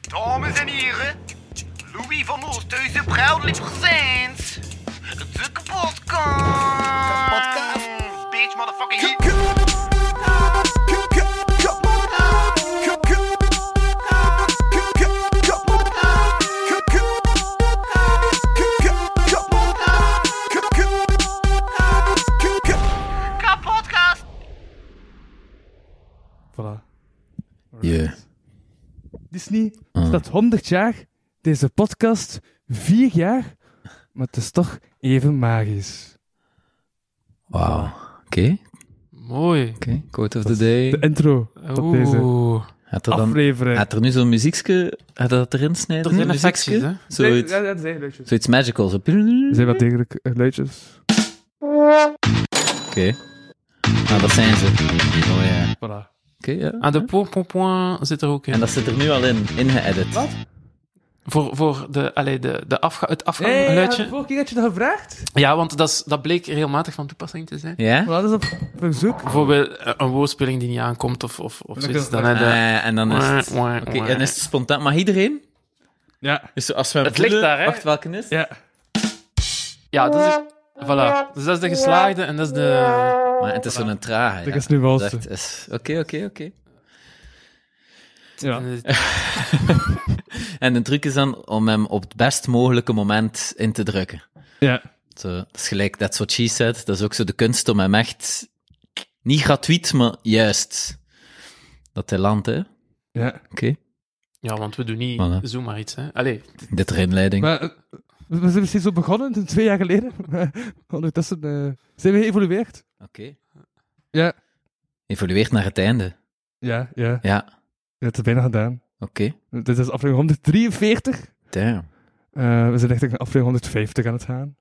Dames en heren, Louis van Oosthuizen proudly presents de kapotkast. Kapotkast. Bitch, motherfucker, Kup, hier. kup. Kup, kup, kup. Kup, kup. Kup, kup, kup. Kup, kup. Kup, kup, kup. Kup, kup. Kup, kup. Kapotkast. Voilà. Yeah. Disney, Ah. staat 100 jaar, deze podcast 4 jaar, maar het is toch even magisch. Wauw. Oké, Mooi. oké. Quote of the day. De intro op deze Oeh. Had er, dan, aflevering. had er nu zo'n muziekje... Had dat erin snijden? Er zijn een effectjes, muziekje? hè? Zoiets, Ja, ja, dat zijn geluidjes. zoiets magicals. Zo. Er Oké. zijn wat degelijk eh, geluidjes. Nou, dat zijn ze. Oh ja. Oké, Voilà. ja. Ah, de point, point, point zit er ook En in. dat zit er nu al in, ingeëdit. Wat? Voor, voor de, allee, de, de afga Hey, het had afgaangeluidje. de Ah, vorige keer had je dat gevraagd? Ja, want dat, is, dat bleek regelmatig van toepassing te zijn. Ja? Voilà, dat is op verzoek. Bijvoorbeeld eh, een woordspeling die niet aankomt of, of, of zoiets. Dan heb Ah, je... ja, en dan is het... Wah, wah, Oké, wah. dan is het spontaan. Mag iedereen? Ja. Dus als we hem Het ligt voelen- daar, hè? Wacht, welke is? Ja. Ja, dat is... Voilà. Dus dat is de geslaagde en dat is de... Maar het is zo'n trage. Dat ja. is nu wel Dat zo. echt is- Oké, oké, oké. Ja. En de truc is dan om hem op het best mogelijke moment in te drukken. Ja. Zo, dat is gelijk, that's what she said. Dat is ook zo de kunst om hem echt... Niet gratuit, maar juist. Dat hij landt, hè. Oké. ja. Ja, want we doen niet Voilà. zo maar iets, hè. Allee, Dit is inleiding. Maar eh, we we zijn misschien zo begonnen, toen twee jaar geleden. Maar Ondertussen eh, zijn we geëvolueerd. Oké. Ja. Evolueert naar het einde. Ja, ja. Je Ja. hebt het bijna gedaan. Oké. Dit is aflevering 143. Damn. Eh, we zijn echt naar aflevering 150 aan het gaan.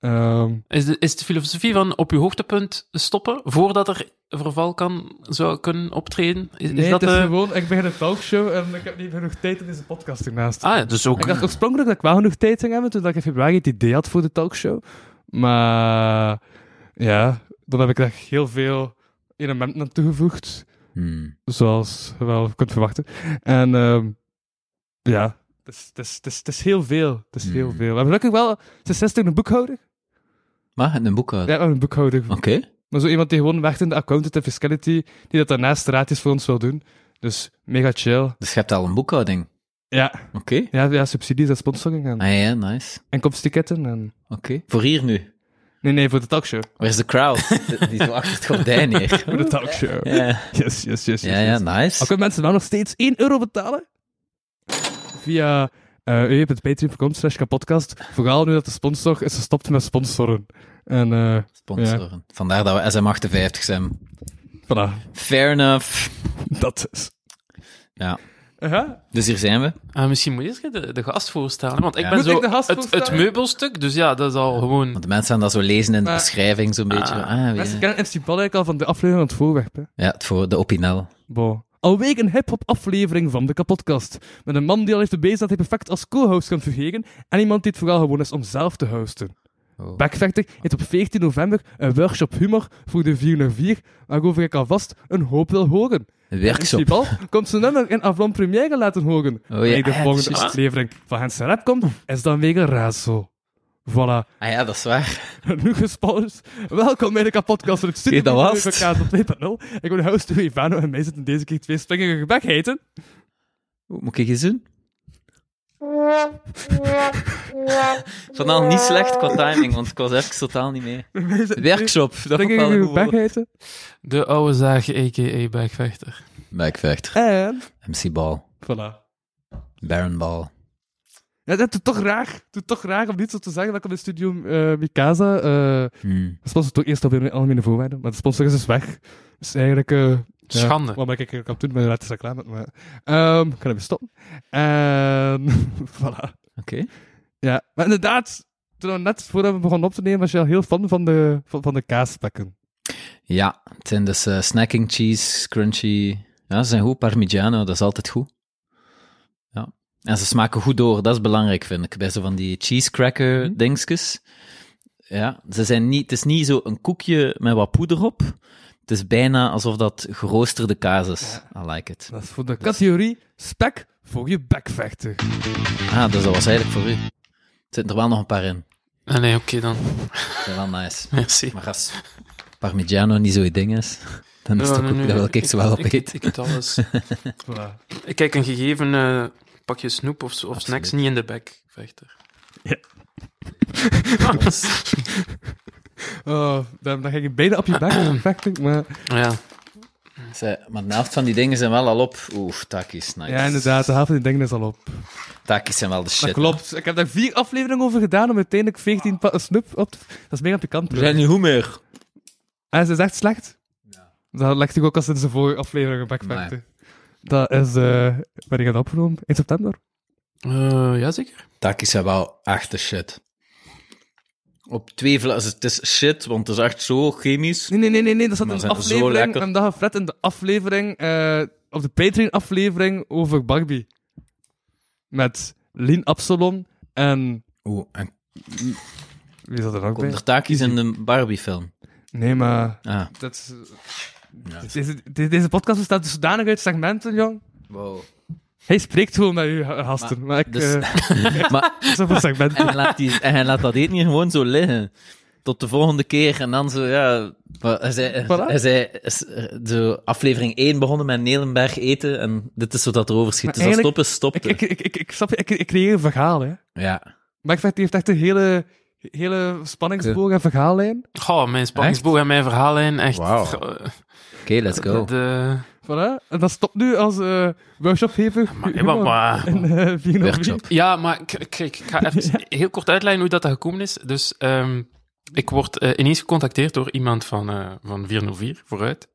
Ehm, is de, is de filosofie van op je hoogtepunt stoppen, voordat er verval kan, zou kunnen optreden? Is, is nee, dat het is de... gewoon, ik begin een talkshow en ik heb niet genoeg tijd in deze podcast hiernaast. Ah, ja, dus ook... Ik dacht oorspronkelijk dat ik wel genoeg tijd zou hebben, toen ik in februari het idee had voor de talkshow. Maar ja, dan heb ik daar heel veel elementen aan toegevoegd, Hmm. zoals je wel kunt verwachten. En ehm, ja, het is, het, is, het, is, het is heel veel. Het is heel Hmm. veel. We hebben gelukkig wel 66 een boekhouder. Maar het een boek Ja, uit. we hebben een boekhouder. Oké. Maar zo iemand die gewoon werkt in de accountant en fiscality, die dat daarnaast gratis voor ons wil doen. Dus mega chill. Dus je hebt al een boekhouding. Ja, Oké. ja, ja subsidies en sponsoring en Ah ja, nice. inkomstiketten. En... Oké. Voor hier nu. Nee, nee, voor de talkshow. Waar is de crowd? Die- Die is wel achter het gordijn hier. Voor de talkshow. Ja, Yes, yes, yes. yes, ja, ja yes. Al nice. kunnen mensen wel nog steeds 1 euro betalen via uh, www.patreon.com slash kapodcast. Vooral nu dat de sponsor is gestopt met sponsoren. En eh, Sponsoren. Vandaar dat we SM58 zijn. voilà, Fair enough. dat is. Ja. Aha. Dus hier zijn we. Ah, misschien moet je eerst de, de gast voorstellen, want ik Ja. ben Moet zo... ik de gast het, het voorstellen? meubelstuk, dus ja, dat is al gewoon... Want de mensen gaan dat zo lezen in de Maar- beschrijving, zo'n beetje. Ah. Ah, Mensen ja. kennen MC Ballijk al van de aflevering van het voorwerp, hè. ja, het voor de opinel. Bon. Alweer een hip-hop aflevering van de kapotkast. Met een man die al heeft bewezen dat hij perfect als co-host kan fungeren. En iemand die het vooral gewoon is om zelf te hosten. Oh. Backfactor heeft op 14 november een workshop humor voor de 4 naar 4, waarover ik alvast een hoop wil horen. Workshop. Principal komt zijn nummer in Avlan Première laten horen. ja, Wanneer de ah ja, volgende juist. aflevering van Hans Rap komt, is dan weer een raadsel. Voilà, Ah ja, dat is waar. genoeg gespanners. Welkom bij de kapotkast van het studio. Oké, dat was het. van Kaas op 2.0. Ik ben de host Louis Vano en mij zitten deze keer twee springende gebakheiten. Hoe moet ik eens doen? Vandaar niet slecht qua timing, want ik was even totaal niet mee. Workshop, dat vond Denk ik ik wel dat een uw goed bek woord. heten? De oude zaag, a.k.a. Backvechter. Backvechter. En... MC Ball. Voilà. Baron Ball. Ja, dat doet toch raar. Doet toch raar om niet zo te zeggen dat ik op de studio eh Mikasa... eh Hmm. sponsor toch eerst op de algemene voorwaarden, maar de sponsor is dus weg. Dus eigenlijk... eh, ja, Schande. wat ben ik eigenlijk aan het doen met de laatste reclame? Maar, Ehm, ik ga even stoppen. En... voilà. Oké. Ja, maar inderdaad... Toen we net voordat we begonnen op te nemen, was je al heel fan van de, van, van de kaaspekken. Ja, het zijn dus eh, snacking cheese, crunchy. Ja, ze zijn goed. Parmigiano, dat is altijd goed. Ja. En ze smaken goed door, dat is belangrijk, vind ik. Bij zo van die Mhm. cheesecracker dingetjes. Ja, ze zijn niet, het is niet zo een koekje met wat poeder op. Het is bijna alsof dat geroosterde kaas is. I like it. Dat is voor de categorie spek voor je bekvechter. Ah, dus dat was eigenlijk voor u. Er zitten er wel nog een paar in. Ah, nee, oké dan. Dat is wel nice. Merci. Maar als Parmigiano niet zo'n ding is, dan is het ook Ja, goed nee, dat nee, wel ik ze wel op ik, ik, eet. ik eet alles. Voilà. ik kijk een gegeven eh, pakje snoep of, of snacks Absoluut. niet in de bek, vechter. Ja. Yes. Oh, dan, dan ga je bijna op je bek vechten, maar... ja. Ze- Maar de helft van die dingen zijn wel al op. Oef, takis, nice. Ja, inderdaad, de helft van die dingen is al op. Takis zijn wel de shit. Dat klopt. Ik heb daar vier afleveringen over gedaan om uiteindelijk 14 pa- snoep op te... Dat is mega pikant. hè. bro. Er zijn niet hoe meer. En ze is echt slecht. Dat legde ik ook al sinds de vorige aflevering een backfactor. Dat is... eh ben ik het opgenomen? In september? Eh, jazeker. Takis zijn wel echt de shit. Op twee vlakken. Het is shit, want het is echt zo chemisch. Nee, nee, nee, nee, nee. Dat zat Maar in de zijn ze zo aflevering. lekker? We hebben dat gefret in de aflevering... eh, op de Patreon-aflevering over Barbie. Met Lien Absalon en... Oeh, en Wie zat er ook komt bij? er takis in de Barbie-film? Nee, maar... Ah, Dat is- Ja. deze, de- deze podcast bestaat dus zodanig uit segmenten, jong. wow. Hij spreekt gewoon met uw gasten. Maar, ik... dus- eh, maar, Zoveel segmenten. en, hij laat die, en hij laat dat eten hier gewoon zo liggen. Tot de volgende keer. En dan zo, ja... maar Hij zei, Voilà. hij zei is- eh, zo, aflevering 1 begonnen met Nelenberg eten. En dit is wat dat erover schiet. Maar Dus dat eigenlijk- stoppen, stopte. Ik, ik, ik, ik, ik, snap je, ik, ik creëer een verhaal, hè. Ja. Maar ik vind, die heeft echt een hele, hele spanningsboog en verhaallijn. Goh, mijn spanningsboog en mijn verhaallijn, echt. Wauw. eh, Oké, let's go. de- Voilà. En dat stopt nu als eh workshopgever. maar, ja, maar, maar- En eh vier Workshop. Ja, maar k- kijk, ik ga even heel kort uitleggen hoe dat, dat gekomen is. Dus ehm, ik word eh, ineens gecontacteerd door iemand van, eh, van 404 vooruit.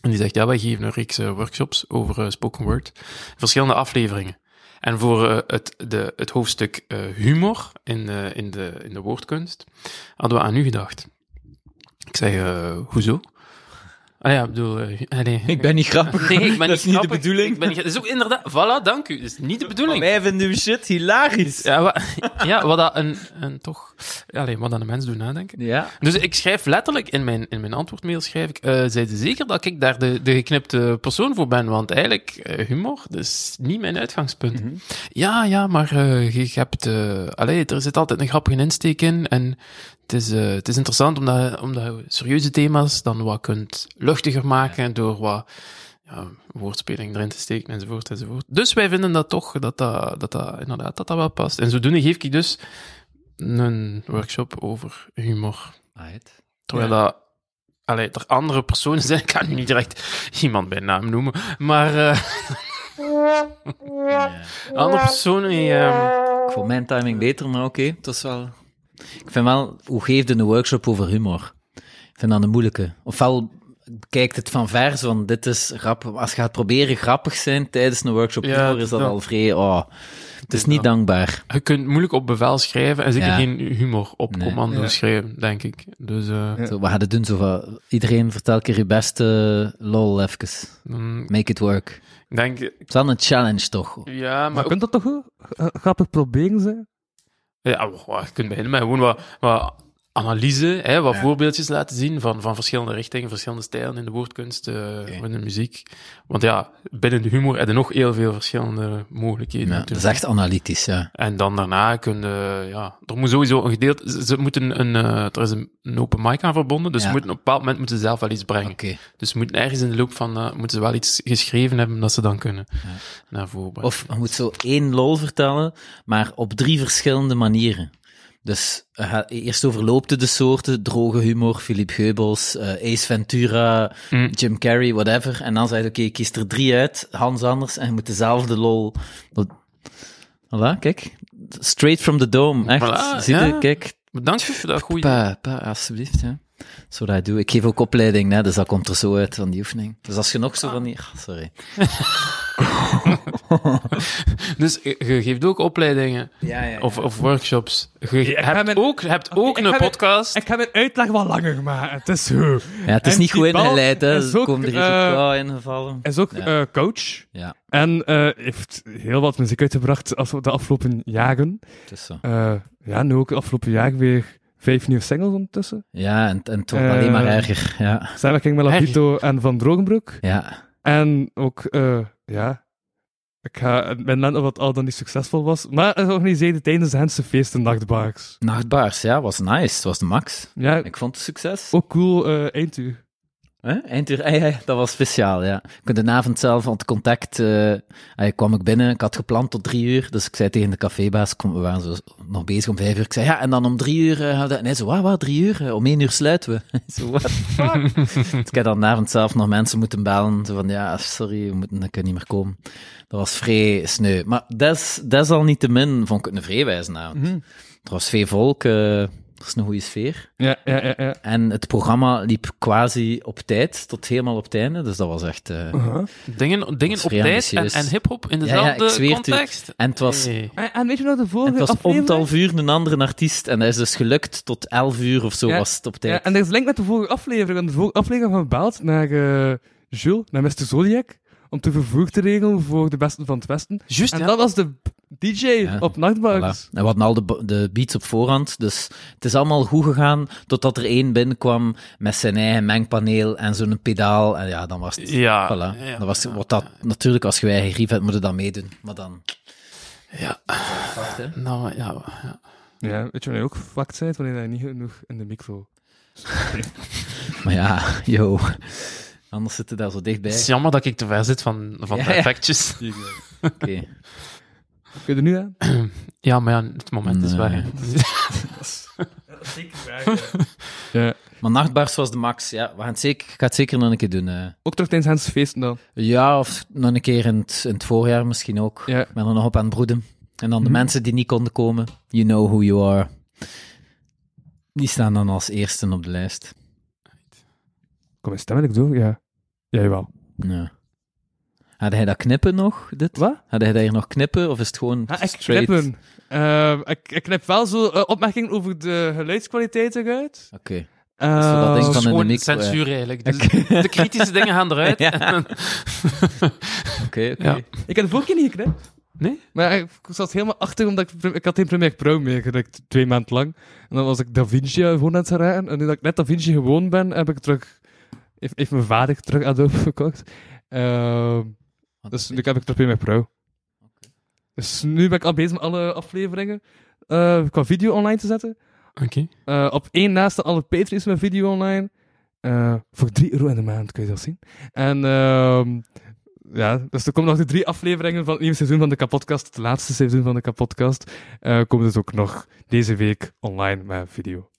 En die zegt, ja, wij geven een reeks eh, workshops over eh, spoken word. Verschillende afleveringen. En voor eh, het, de, het hoofdstuk eh, humor in de, in, de, in de woordkunst hadden we aan u gedacht. Ik zeg, eh, hoezo? Ah ja, ik bedoel... eh, ah, nee. Ik ben niet grappig. Nee, ik ben dat is niet niet de grappig. bedoeling. Ik ben niet... Dat is ook inderdaad... Voilà, dank u. Dat is niet de bedoeling. Wij vinden uw shit hilarisch. Ja, wa- ja, wat dat een, een toch... Allee, wat dat een mens doet nadenken. Ja. Dus ik schrijf letterlijk, in mijn, in mijn antwoordmail schrijf ik... eh zijn ze zeker dat ik daar de, de geknipte persoon voor ben? Want eigenlijk, eh, humor, dat is niet mijn uitgangspunt. Ja, ja, maar eh, je, je hebt... eh allee, er zit altijd een grappige insteek in. En het is, eh, het is interessant omdat, omdat je serieuze thema's dan wat kunt luchtiger maken door wat... Ja, woordspeling erin te steken enzovoort enzovoort. Dus wij vinden dat toch, dat dat, dat, dat inderdaad dat dat wel past. En zodoende geef ik dus een workshop over humor. Alright. Terwijl dat... Allee, er andere personen zijn. Ik kan nu niet direct iemand bij naam noemen. Maar eh, Ja. andere personen die... ehm, Ik vond mijn timing beter, maar oké, het was wel... Ik vind wel, hoe geef je een workshop over humor? Ik vind dat een moeilijke. Ofwel kijkt het van vers, want dit is grap. Als je gaat proberen grappig zijn tijdens een workshop Ja, humor, is dat dat- al vrij... Oh, het is niet dat. dankbaar. je kunt moeilijk op bevel schrijven en zeker Ja. geen humor op Nee. commando Ja. schrijven, denk ik. Dus eh, Ja. Zo, we gaan het doen zo van... Iedereen vertel een keer je beste lol even. mm, Make it work. ik denk... Het is wel een challenge, toch? Ja, Maar maar je ook- kunt dat toch goed? eh, grappig proberen, ze? Ja, wa- je kunt beginnen met gewoon wat, wat analyse, hè, wat voorbeeldjes laten zien van, van verschillende richtingen, verschillende stijlen in de woordkunst, eh in de muziek. Want ja, binnen de humor heb je nog heel veel verschillende mogelijkheden. Ja, dat is natuurlijk. echt analytisch, ja. En dan daarna kunnen, ja, er moet sowieso een gedeelte, ze, ze moeten een, eh, er is een, een open mic aan verbonden, dus Ja. ze moeten op een bepaald moment moeten ze zelf wel iets brengen. Oké. Dus ze moeten ergens in de loop van, eh, moeten ze wel iets geschreven hebben dat ze dan kunnen naar voren brengen. Of je moet zo één lol vertellen, maar op drie verschillende manieren. Dus eh, ga- eerst overloopt je de soorten, droge humor, Philip Geubels, eh, Ace Ventura, Mm. Jim Carrey, whatever. En dan zeg je, oké, ik kies er drie uit, Hans Anders, en je moet dezelfde lol... Dat- Voilà, kijk. Straight from the dome, echt. Voilà, Zie je, ja. kijk. Bedankt voor dat goede... Pa, pa, alsjeblieft, hè. Zo dat ik doe. Ik geef ook opleiding, hè, dus dat komt er zo uit van die oefening. Dus als je nog zo van die... Ah, Sorry. Dus je je geeft ook opleidingen. Ja, ja, ja. Of, of workshops. Je ga hebt met- ook, je hebt ook ik een ga met- podcast. Ik heb mijn uitleg wat langer gemaakt. Het is zo. Ja, het is En niet goed die bal ingeleid, hè. is Ze ook, komen er eh, heel uh, ingevallen. Hij is ook Ja. eh, coach. Ja, En eh, heeft heel wat muziek uitgebracht af- de afgelopen jaren. het is zo. Eh, ja, nu ook de afgelopen jaar weer vijf nieuwe singles ondertussen. Ja, en, en het wordt Eh. alleen maar erger. Ja, Samenwerking met Labito en Van Drogenbroek. ja. En ook, eh, ja... Ik ga mijn land wat al dan niet succesvol was, maar het organiseerde tijdens de Hense feesten nachtbaars. Nachtbaars, ja, was nice. Het was de max. Ja, Ik vond het succes. ook cool eh einduur. Huh? Einduur, ah, ja, ja, dat was speciaal, ja. Ik had de avond zelf aan het contact, eh, ah, kwam ik binnen, ik had gepland tot drie uur, dus ik zei tegen de cafébaas, kom, we waren zo nog bezig om vijf uur, ik zei ja, en dan om drie uur, eh, gaan we dat... en hij zo, waar, waar, drie uur, Eh, om één uur sluiten we. Ik zo, what the fuck? dus ik heb dan de avond zelf nog mensen moeten bellen, zo van, ja, sorry, we moeten, ik kan niet meer komen. Dat was vrij sneu, maar des, al niet te min, vond ik het een vreewijze avond. Er was veel volk, eh, er is een goede sfeer. Ja, ja, ja. ja. En het programma liep quasi op tijd, tot helemaal op het einde. Dus dat was echt... eh, Dingen, dingen dus is op vrij tijd en, ambitieus. en hip-hop in Ja, ja, ik dezelfde zweer het u. context. En het was, en Nee. En, en weet je nog de vorige het was om aflevering? het half uur een andere artiest. En dat is dus gelukt tot elf uur of zo Ja, was het op tijd. Ja, en dat is link met de vorige aflevering. Want de vorige aflevering hebben we gebeld naar eh, Jules, naar Mr. Zodiac, om te vervoer te regelen voor de besten van het Westen. Juist, En ja. dat was de DJ Ja. op Nachtbugs. Voilà. En we hadden al de, bo- de beats op voorhand, dus het is allemaal goed gegaan, totdat er één binnenkwam met zijn eigen mengpaneel en zo'n pedaal. En ja, dan was het... Ja, Voilà. ja, dat was, Wat dat, natuurlijk, als je eigen grief hebt, moet je dan meedoen. Maar dan... Ja. Wacht, hè. Nou, ja, ja. Ja, weet je wanneer je ook fucked bent? Wanneer hij niet genoeg in de micro... Maar ja, yo. Anders zit je daar zo Het dichtbij. is jammer dat ik te ver zit van, van Ja, de ja. effectjes. Oké. Kun je er nu aan? Ja, maar ja, het moment is Nee. weg. hè. Ja. Maar nachtbars was de max, ja. We gaan het zeker, ik ga het zeker nog een keer doen. eh. Ook terug tijdens Hans Feesten dan. Ja, of nog een keer in het, in het voorjaar misschien ook. Ja. Ik ben er nog op aan het broeden. En Mhm. dan de mensen die niet konden komen, you know who you are. Die staan dan als eerste op de lijst. Kom mijn stem ik door? Ja. Jij wel. Ja. Had hij dat knippen nog, dit? Wat? Had hij dat hier nog knippen, of is het gewoon Ah, ik straight? knip hem. Ehm, ik, ik knip wel zo eh, opmerkingen over de geluidskwaliteit eruit. Oké. Ehm, zodat denk Het is van in de gewoon micro, censuur eigenlijk. Dus De kritische dingen gaan eruit. eh. Ja. en dan- Oké, oké. Ja. Ik heb de vorige keer niet geknipt. Nee? Maar ik zat helemaal achter, omdat ik, ik had geen Premiere Pro meer gedrukt, twee maanden lang. En dan was ik Da Vinci gewoon aan het raken. En nu dat ik net Da Vinci gewoon ben, heb ik terug... Heeft, heeft mijn vader terug Adobe gekocht. Ehm, Wat dus een nu heb ik terug Premiere Pro. Dus nu ben ik al bezig met alle afleveringen eh, qua video online te zetten. Oké. Eh, op één naast alle Patreons met video online. Eh, voor 3 euro in de maand kun je dat zien. En ehm, ja, dus er komen nog de drie afleveringen van het nieuwe seizoen van de Kapodcast. Het laatste seizoen van de Kapodcast. eh komen dus ook nog deze week online met video.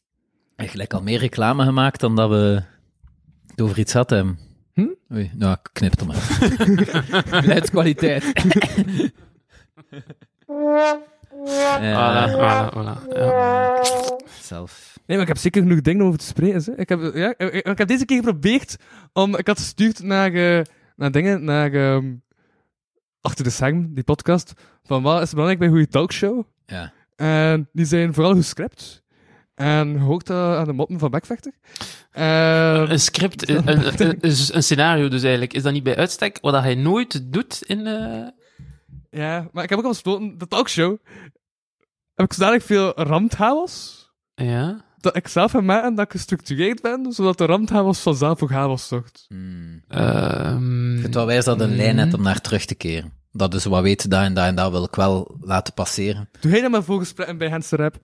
En gelijk al meer reclame gemaakt dan dat we het over iets hadden. Hm? Oei, nou, ik knip het maar. Geluidskwaliteit. Voilà, Eh, voilà, voilà. Ja. zelf. Nee, maar ik heb zeker genoeg dingen om over te spreken. Hè. Ik, heb, ja, ik, ik- ik heb deze keer geprobeerd om... Ik had gestuurd naar, eh, naar dingen, naar... ehm, Achter de Scherm, die podcast. Van wat is belangrijk bij een goede talkshow? Ja. En die zijn vooral gescript. En je hoort dat aan de moppen van Bekvechter. Eh, En- Een script, een, een, een- een scenario dus eigenlijk. Is dat niet bij uitstek wat hij nooit doet in... eh, ja, maar ik heb ook al besloten, de talkshow, heb ik zodanig veel randhavels, Ja? dat ik zelf heb maken dat ik gestructureerd ben, zodat de randhavels vanzelf voor chaos zorgt. Hmm. Ik Ehm, vind het wel wijs dat een lijn hebt om naar terug te keren. Dat dus wat weten, dat en dat en dat wil ik wel laten passeren. Doe jij dat maar voorgesprekken bij Hans de Rap?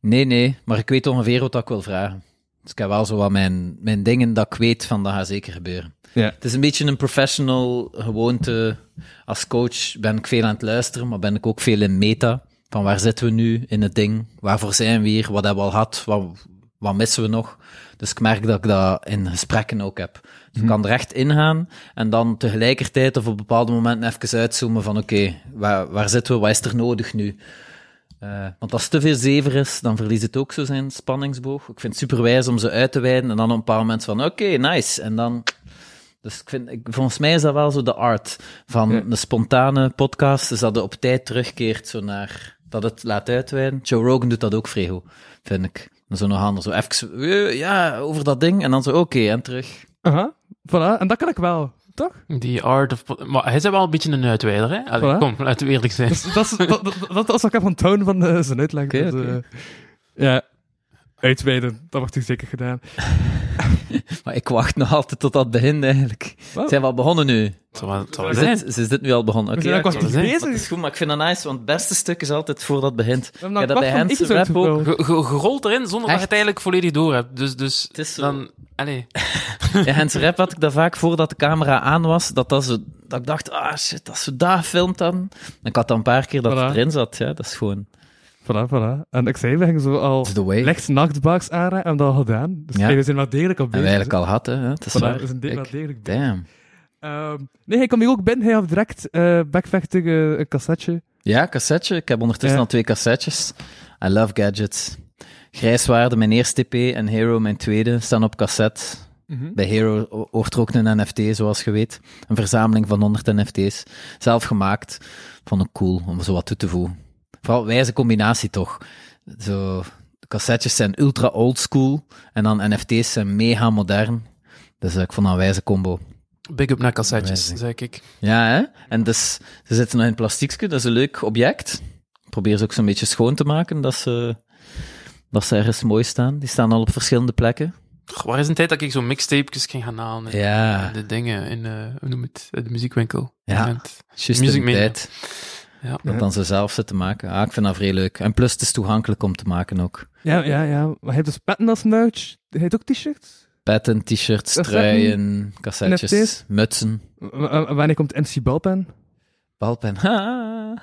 Nee, nee, maar ik weet ongeveer wat ik wil vragen. Dus ik heb wel zo wat mijn, mijn dingen dat ik weet van dat gaat zeker gebeuren. Ja. Het is een beetje een professional gewoonte. Als coach ben ik veel aan het luisteren, maar ben ik ook veel in meta. Van waar zitten we nu in het ding? Waarvoor zijn we hier? Wat hebben we al gehad? Wat, wat missen we nog? Dus ik merk dat ik dat in gesprekken ook heb. Dus ik kan er echt in gaan en dan tegelijkertijd of op bepaalde momenten even uitzoomen van oké, waar, waar zitten we? Wat is er nodig nu? Eh, want als het te veel zever is, dan verliest het ook zo zijn spanningsboog. Ik vind het superwijs om ze uit te wijden en dan op een bepaald moment van oké, nice. En dan... Dus ik vind, ik, volgens mij is dat wel zo de art van Ja. een spontane podcast, is dat het op tijd terugkeert zo naar... Dat het laat uitweiden. Joe Rogan doet dat ook vrij goed, vind ik. En zo nog anders. Zo even, eh, ja, over dat ding. En dan zo, oké, en terug. Aha, voilà, en dat kan ik wel, toch? Die art of... po- Maar hij is wel een beetje een uitwijder, hè? Allee, Voilà. Kom, laten we eerlijk zijn. Dat is, dat, is- dat, dat, dat is wat ik heb van toon van eh, zijn uitleg. Oké, Dus, eh, oké. ja, uitweiden. Dat wordt hier zeker gedaan. Maar ik wacht nog altijd tot dat begint, eigenlijk. Wat? Zijn we al begonnen nu? Zal wel- zal wel Is zijn. dit, is dit nu al begonnen? We Oké, zijn ook oké. actief zijn. Maar het is bezig. goed, maar ik vind dat nice, want het beste stuk is altijd voordat het begint. hebben Ja, nog dat bij kwart van Hansen X Rap ook. uitgebracht. Ge- ge- Gerold erin zonder dat je Echt? het eigenlijk volledig door hebt. Dus, dus Het is zo. dan. Allee. Ja, Hens Rap had ik dat vaak voordat de camera aan was, dat, dat, zo, dat ik dacht, ah shit, als ze daar filmt dan... Ik had dan een paar keer dat het Voilà. erin zat, ja, dat is gewoon... Voilà, voilà. En ik zei, we gingen zo al It's the way. licht nachtbaaks aanraken en dat al gedaan. Dus Ja. hey, we zijn wel degelijk op En we bezig. eigenlijk al had, hè. hè, Het is Voilà, waar. we zijn de- Kijk, wel degelijk bezig. Damn. Ehm, nee, hij kwam hier ook binnen. Hij had direct eh backvechtig eh, een cassetje. Ja, cassetje. Ik heb ondertussen Ja. al twee cassetjes. I love gadgets. Grijswaarde, mijn eerste EP, en Hero, mijn tweede, staan op cassette. Bij Hero ho- hoort er ook een NFT, zoals je weet. Een verzameling van 100 NFT's. Zelf gemaakt. Vond ik cool om zo wat toe te voegen. Vooral wijze combinatie toch. Zo, de cassettes zijn ultra old school. En dan NFT's zijn mega modern. Dus eh, ik vond dat een wijze combo. Big up naar cassettes, Amazing. zeg ik. Ja, hè? En dus, ze zitten nog in plastiekje, dat is een leuk object. Ik probeer ze ook zo'n beetje schoon te maken, dat ze, dat ze ergens mooi staan. Die staan al op verschillende plekken. Goh, Waar is een tijd dat ik zo'n mixtapes ging gaan halen? in- Ja, in De dingen in, eh, hoe noem je het? De muziekwinkel. Ja. Met- juist Music in de Mania. tijd. Ja. Dat dan ze zelf zitten maken. Ah, ik vind dat vrij leuk. En plus, het is toegankelijk om te maken ook. Ja, ja, ja. Maar hij heeft dus petten als merch. Hij heeft ook t-shirts. Petten, t-shirts, Cassetten, truien, cassettes, NFT's. mutsen, W- w- wanneer komt MC Balpen? balpen. Ha!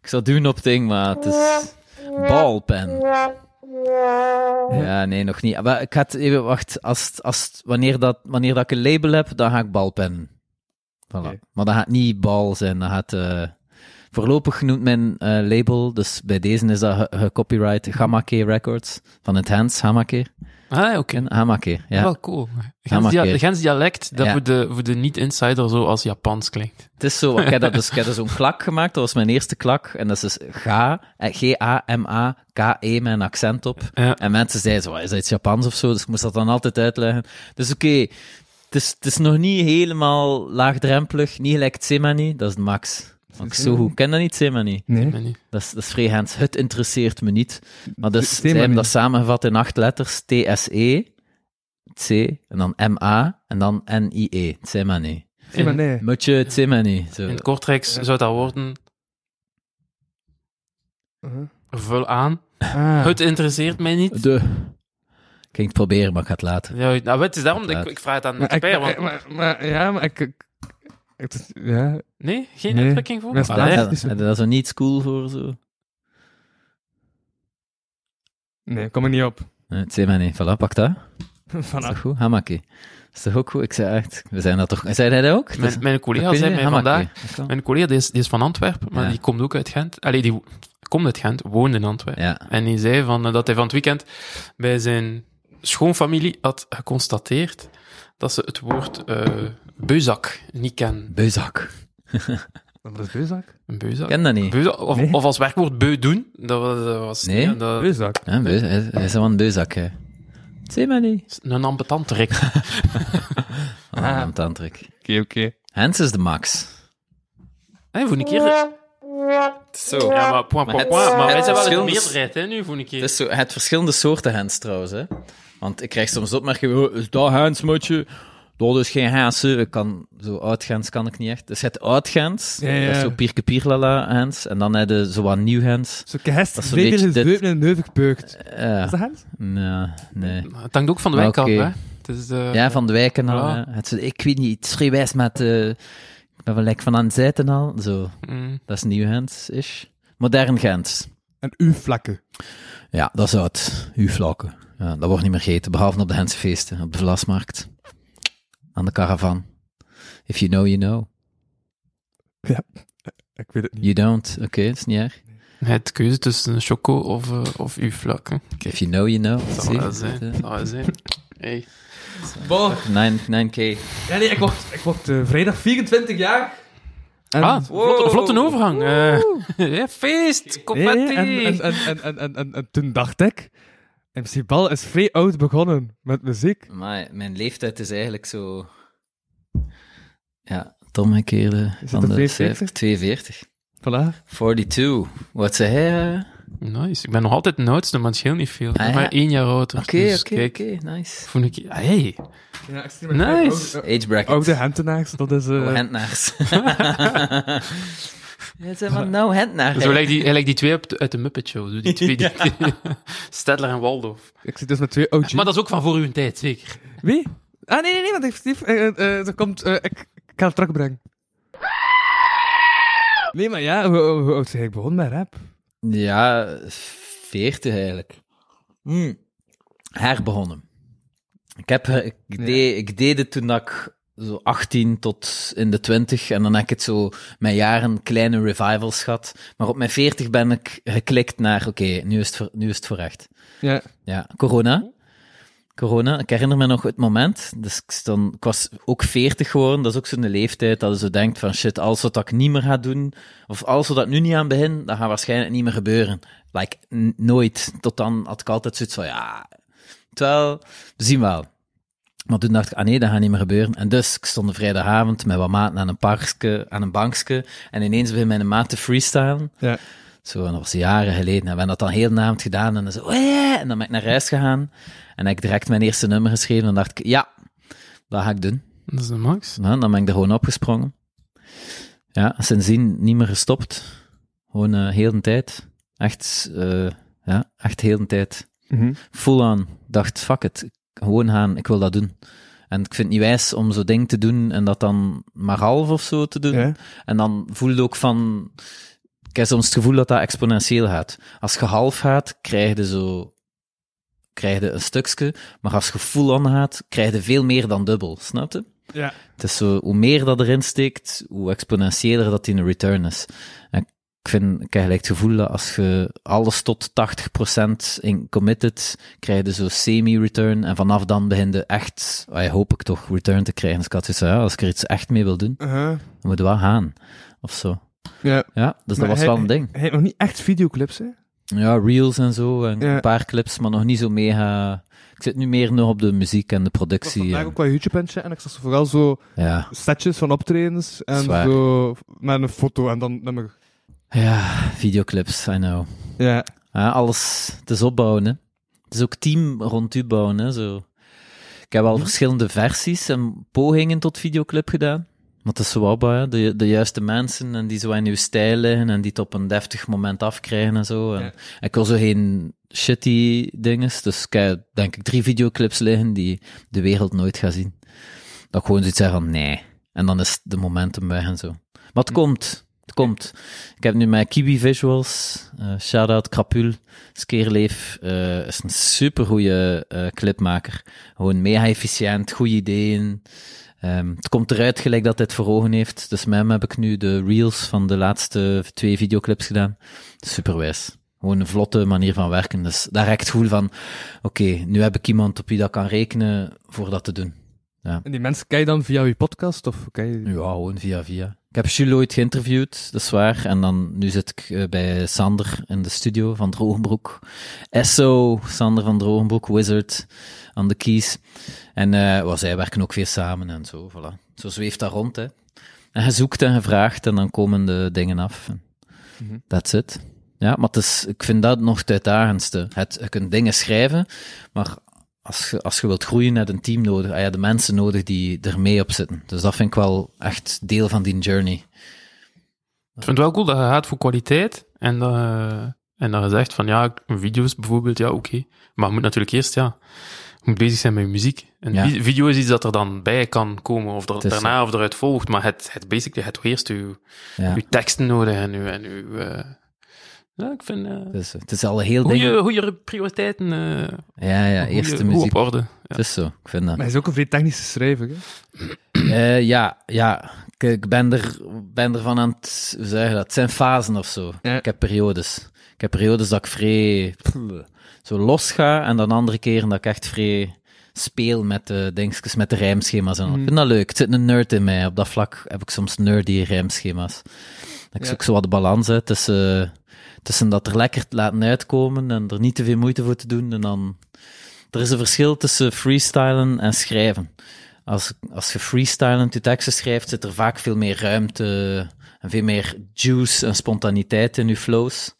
Ik zou doen op ding, maar het is balpen. Ja, nee, nog niet. Maar ik had even wacht. Als, het- als, het- wanneer, dat, wanneer dat ik een label heb, dan ga ik balpen. Voilà. Oké. Maar dat gaat niet bal zijn. Dat gaat, eh, voorlopig genoemd mijn eh, label. Dus bij deze is dat ge- gecopyright Gamake Records. Van het Hans Hamake. Ah, oké. Ken Hamake, ja. Wel cool. maar Gens, dia- oké. Gens dialect, dat Ja. voor de, voor de niet-insider zo als Japans klinkt. Het is zo, ik heb, dat dus, ik heb dus zo'n klak gemaakt, dat was mijn eerste klak. En dat is dus ga, eh, G-A-M-A-K-E E met een accent op. Ja. En mensen zeiden zo, is dat iets Japans of zo? Dus ik moest dat dan altijd uitleggen. Dus oké, het, is, het is nog niet helemaal laagdrempelig. Niet gelijk Tsemani, dat is de max. Vond ik zo goed. Ken dat niet, Tsemani? Nee. Nee, nee. Dat is, dat is vrij Hens. Het interesseert me niet. Maar dus, zij Tsemani. hebben dat samengevat in acht letters. T-S-E, C, en dan M-A, en dan N-I-E. Tsemani. Zie maar nee. Mutje Tsemani. Zo. In het Kortrijk zou dat worden, Uh-huh. vul aan. Ah. Het interesseert mij niet. De. Ik ging het proberen, maar ik ga het laten. Ja, nou, het is daarom, dat ik, ik vraag het aan de Maar ik- eh, expert, want... maar- maar- maar- Ja, maar ik... ik- het is- Ja, Nee, geen Nee. uitdrukking voor? Dat is Ah, daar. echt? Heb je daar zo niet cool voor? Zo? nee, kom er niet op. Nee, het zei mij niet. Voilà, pak dat. Is dat Vanaf. goed? Hamaki. Is toch ook goed? Ik zei echt, we zijn dat toch... Zei jij dat ook? Dat is- Mijn, mijn dat collega kun zei je, mij hamaki. vandaag... Dat is wel- Mijn collega die is, die is van Antwerpen, maar Ja. die komt ook uit Gent. Allee, die wo- komt uit Gent, woont in Antwerpen. Ja. En die zei van, eh, dat hij van het weekend bij zijn schoonfamilie had geconstateerd dat ze het woord eh, beuzak niet kennen. Beuzak. Wat is beuzak? Een beuzak? Ken dat niet? Beuzak, of, Nee. of als werkwoord beu doen, dat was... dat was- Nee. ja, dat Beuzak. Ja, beuz, hij hij is wel een beuzak, hè. Het zei mij niet. is een ambetante rik. Oh, Ah. een tandruk. Oké, oké. Hens is de max. Hey, voor een keer... Zo. Ja, maar point, Maar het- point, point. Maar wij het zijn wel in de verschil is- meerderheid, hè, nu, voor een keer. Het is zo, het verschillende soorten hens trouwens. Hè? Want ik krijg soms opmerkingen, oh, is dat hens, mutje? Dat is geen hens. hè. Ik kan, zo oud hens kan ik niet echt. Dus het oud hens, Ja, ja. dat is zo pierke pierlala hens. En dan heb je zo wat nieuw hens. Zo gehest, Dat is is een beetje is dit. beuken en neuvig beukt. Eh, Is dat Hans? nee, nee. Het hangt ook van de Maar wijk af, oké. hè. Het is, eh, Ja, van de wijken al. Ah. Ja. hè. Het, is- ik weet niet, het is vrij wijs met... eh, ik ben wel lekker van aan het zijten al. Zo, mm. dat is nieuw hens, is. Modern Gens. En uw vlakken. Ja, dat is oud. Huurvlakken. Ja, dat wordt niet meer gegeten, behalve op de Hense feesten, op de Vlasmarkt. Aan de caravan. If you know, you know. Ik weet het niet. You don't. Oké, dat is niet erg. Het keuze tussen een choco of, eh, of uw vlak. Hè. If you know, you know. Dat Zie zou je? wel zijn. Dat zou wel zijn. Hey. Bon. Nine- 9K. Ja, nee, ik word, ik word eh, vrijdag 24 jaar. En, Ah, vlotte, vlotte overgang. eh. ja, feest, nee, confetti. en, en, en, en, en, en, en toen dacht ik... MC Bal is vrij oud begonnen met muziek. Maar mijn leeftijd is eigenlijk zo... Ja, het omgekeerde het eh, van de 42? cijfer. 42. Voilà. 42. Wat zei hij? eh? Nice. Ik ben nog altijd de oudste, maar het scheelt niet veel. Ik ben Ah, ja. maar één jaar ouder. Oké, dus oké, kijk, oké, nice. Voel ik... Ah, hey. Ja, extreem. Nice. Ook- Age bracket. Ook de Eh, Hentenaars, dat is... eh, Oh, Hentnaars. Het zijn maar nou Hentnaar. Zo lijkt die, Dus hij lijkt die twee op de- uit de Muppet Show. Zo, die twee, die, Stedler en Waldorf. ik zit dus met twee OG's. Maar dat is ook van voor uw tijd, zeker. Wie? Ah, nee, nee, nee, want effectief, eh, eh, er komt... eh, ik, ik ga het terugbrengen. Nee, maar ja, hoe, hoe oud ben ik begonnen met rap? Ja, 40 eigenlijk. Hmm. Herbegonnen. Ik, heb, eh, ik, deed, ik deed het toen dat ik zo 18 tot in de 20 en dan heb ik het zo mijn jaren kleine revivals gehad. Maar op mijn 40 ben ik geklikt naar: oké, nu, is het voor- nu is het voor echt. Ja. Ja, corona. Corona, ik herinner me nog het moment. Dus ik, stond, ik was ook 40 geworden. Dat is ook zo'n leeftijd dat je zo denkt van shit, alles wat ik niet meer ga doen, of alles wat ik nu niet aan begin, dat gaat waarschijnlijk niet meer gebeuren. Like, n- nooit. Tot dan had ik altijd zoiets van ja, terwijl, we zien wel. Maar toen dacht ik, ah nee, dat gaat niet meer gebeuren. En dus, ik stond de vrijdagavond met wat maten aan een parkske, aan een bankske. En ineens begin mijn maat te freestylen. Ja. Zo, en dat was jaren geleden. En we hebben dat dan heel naamd gedaan. En dan, zo, oh ja. en dan ben ik naar huis gegaan. En heb ik direct mijn eerste nummer geschreven. En dacht ik, ja, dat ga ik doen. Dat is de max. Nou, dan ben ik er gewoon opgesprongen. Ja, sindsdien niet meer gestopt. Gewoon eh, heel de tijd. Echt, eh, ja, echt heel de tijd. Full aan. Dacht, fuck it. Gewoon gaan, ik wil dat doen. En ik vind het niet wijs om zo'n ding te doen en dat dan maar half of zo te doen. Ja. En dan voel je ook van... Ik heb soms het gevoel dat dat exponentieel gaat. Als je half gaat, krijg je zo... Krijg je een stukje. Maar als je full aan gaat, krijg je veel meer dan dubbel. Snap je? Ja. Het is zo, hoe meer dat erin steekt, hoe exponentiëler dat in een return is. En ik, vind, ik heb gelijk het gevoel dat als je alles tot 80% in committed, krijg je zo semi-return. En vanaf dan begin je echt, ah ja, hoop ik toch, return te krijgen. Dus ik had zoiets van, ja, als ik er iets echt mee wil doen, Uh-huh. dan moet het wel gaan. Of zo. Ja. Ja, dus Maar dat was hij- wel een ding. Hij heeft nog niet echt videoclips, hè? Ja, reels en zo, en Ja. een paar clips, maar nog niet zo mega... Ik zit nu meer nog op de muziek en de Ik was productie. vandaag en- ook wel YouTube en shit, en ik zag vooral zo ja. setjes van optredens en Zwaar. zo met een foto en dan nummer. ja, videoclips, I know. Ja. Ja, alles, het is opbouwen, hè. Het is ook team rond u bouwen, hè, zo. Ik heb al verschillende versies en pogingen tot videoclip gedaan. Maar het is zo opbouwen, hè. de, de juiste mensen en die zo in uw stijl liggen en die het op een deftig moment afkrijgen en zo. En Ja. Ik wil zo geen shitty dinges, dus ik heb denk ik drie videoclips liggen die de wereld nooit gaat zien. Dat ik gewoon zoiets zeg van nee. En dan is de momentum weg en zo. Maar het komt, het komt. Ik heb nu mijn Kiwi Visuals, eh shout-out Krapul, Skeerleef, eh, is een supergoeie eh clipmaker. Gewoon mega efficiënt, goede ideeën. Ehm, het komt eruit gelijk dat hij het voor ogen heeft. Dus met hem heb ik nu de reels van de laatste twee videoclips gedaan. Superwijs. Gewoon een vlotte manier van werken. Dus daar heb ik het gevoel van, oké, nu heb ik iemand op wie dat kan rekenen voor dat te doen. En die mensen kijk je dan via je podcast of kijk je... Ja, gewoon via via. Ik heb Jules ooit geïnterviewd, dat is waar. En dan, nu zit ik eh, bij Sander in de studio van Drogenbroek. SO, Sander van Drogenbroek, Wizard, aan de keys. En eh wel, zij werken ook weer samen en zo, voilà. Zo zweeft dat rond, hè. En je zoekt en je vraagt en dan komen de dingen af. En That's it. Ja, maar het is, ik vind dat nog het uitdagendste. Het, je kunt dingen schrijven, maar als je, als je wilt groeien, heb je een team nodig. Ah ja, de mensen nodig die er mee op zitten. Dus dat vind ik wel echt deel van die journey. Ik vind het wel cool dat je gaat voor kwaliteit en dat, je- en dat je zegt van ja, video's bijvoorbeeld, ja oké. Maar je moet natuurlijk eerst, ja, je moet bezig zijn met je muziek. En Ja. vi- video is iets dat er dan bij kan komen of er, is daarna of eruit volgt, maar het, het basically, het eerst je, Ja. je teksten nodig en je... En je eh, ja, ik vind... eh Dus, eh, het is al heel dingen. goede, goede prioriteiten. eh Ja, ja, goeie- eerste goed muziek. op orde. Ja. Het is zo, ik vind dat. Maar hij is ook een vrij technische schrijver, hè? Eh, ja, ja. Ik, ik ben, er, ben ervan aan het... Hoe zeg je dat? Het zijn fasen of zo. Ja. Ik heb periodes. Ik heb periodes dat ik vrij... pff, Zo los ga. En dan andere keren dat ik echt vrij speel met de dingetjes, met de rijmschema's. En al. Hmm. Ik vind dat leuk. Het zit een nerd in mij. Op dat vlak heb ik soms nerdy rijmschema's. Ik Ja. zoek zo wat de balans uit tussen, tussen dat er lekker te laten uitkomen en er niet te veel moeite voor te doen. En dan... Er is een verschil tussen freestylen en schrijven als, als je freestylend je teksten schrijft, zit er vaak veel meer ruimte en veel meer juice en spontaniteit in je flows.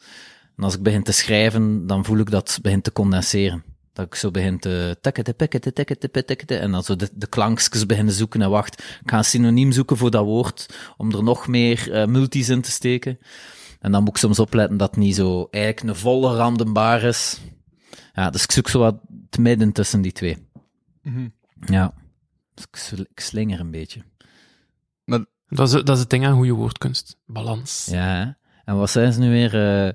En als ik begin te schrijven, dan voel ik dat het begint te condenseren. Dat ik zo begin te tikkete, pikkete, tikkete, pikkete, en dan zo de, de klankjes beginnen zoeken en wacht, ik ga een synoniem zoeken voor dat woord, om er nog meer eh, multis in te steken. En dan moet ik soms opletten dat het niet zo eigenlijk een volle randenbaar is. Ja, dus ik zoek zo wat het midden tussen die twee. Ja. Dus ik sl- ik slinger een beetje. Dat is, dat is het ding aan goede woordkunst. Balans. Ja, hè. en wat zijn ze nu weer? eh, eh,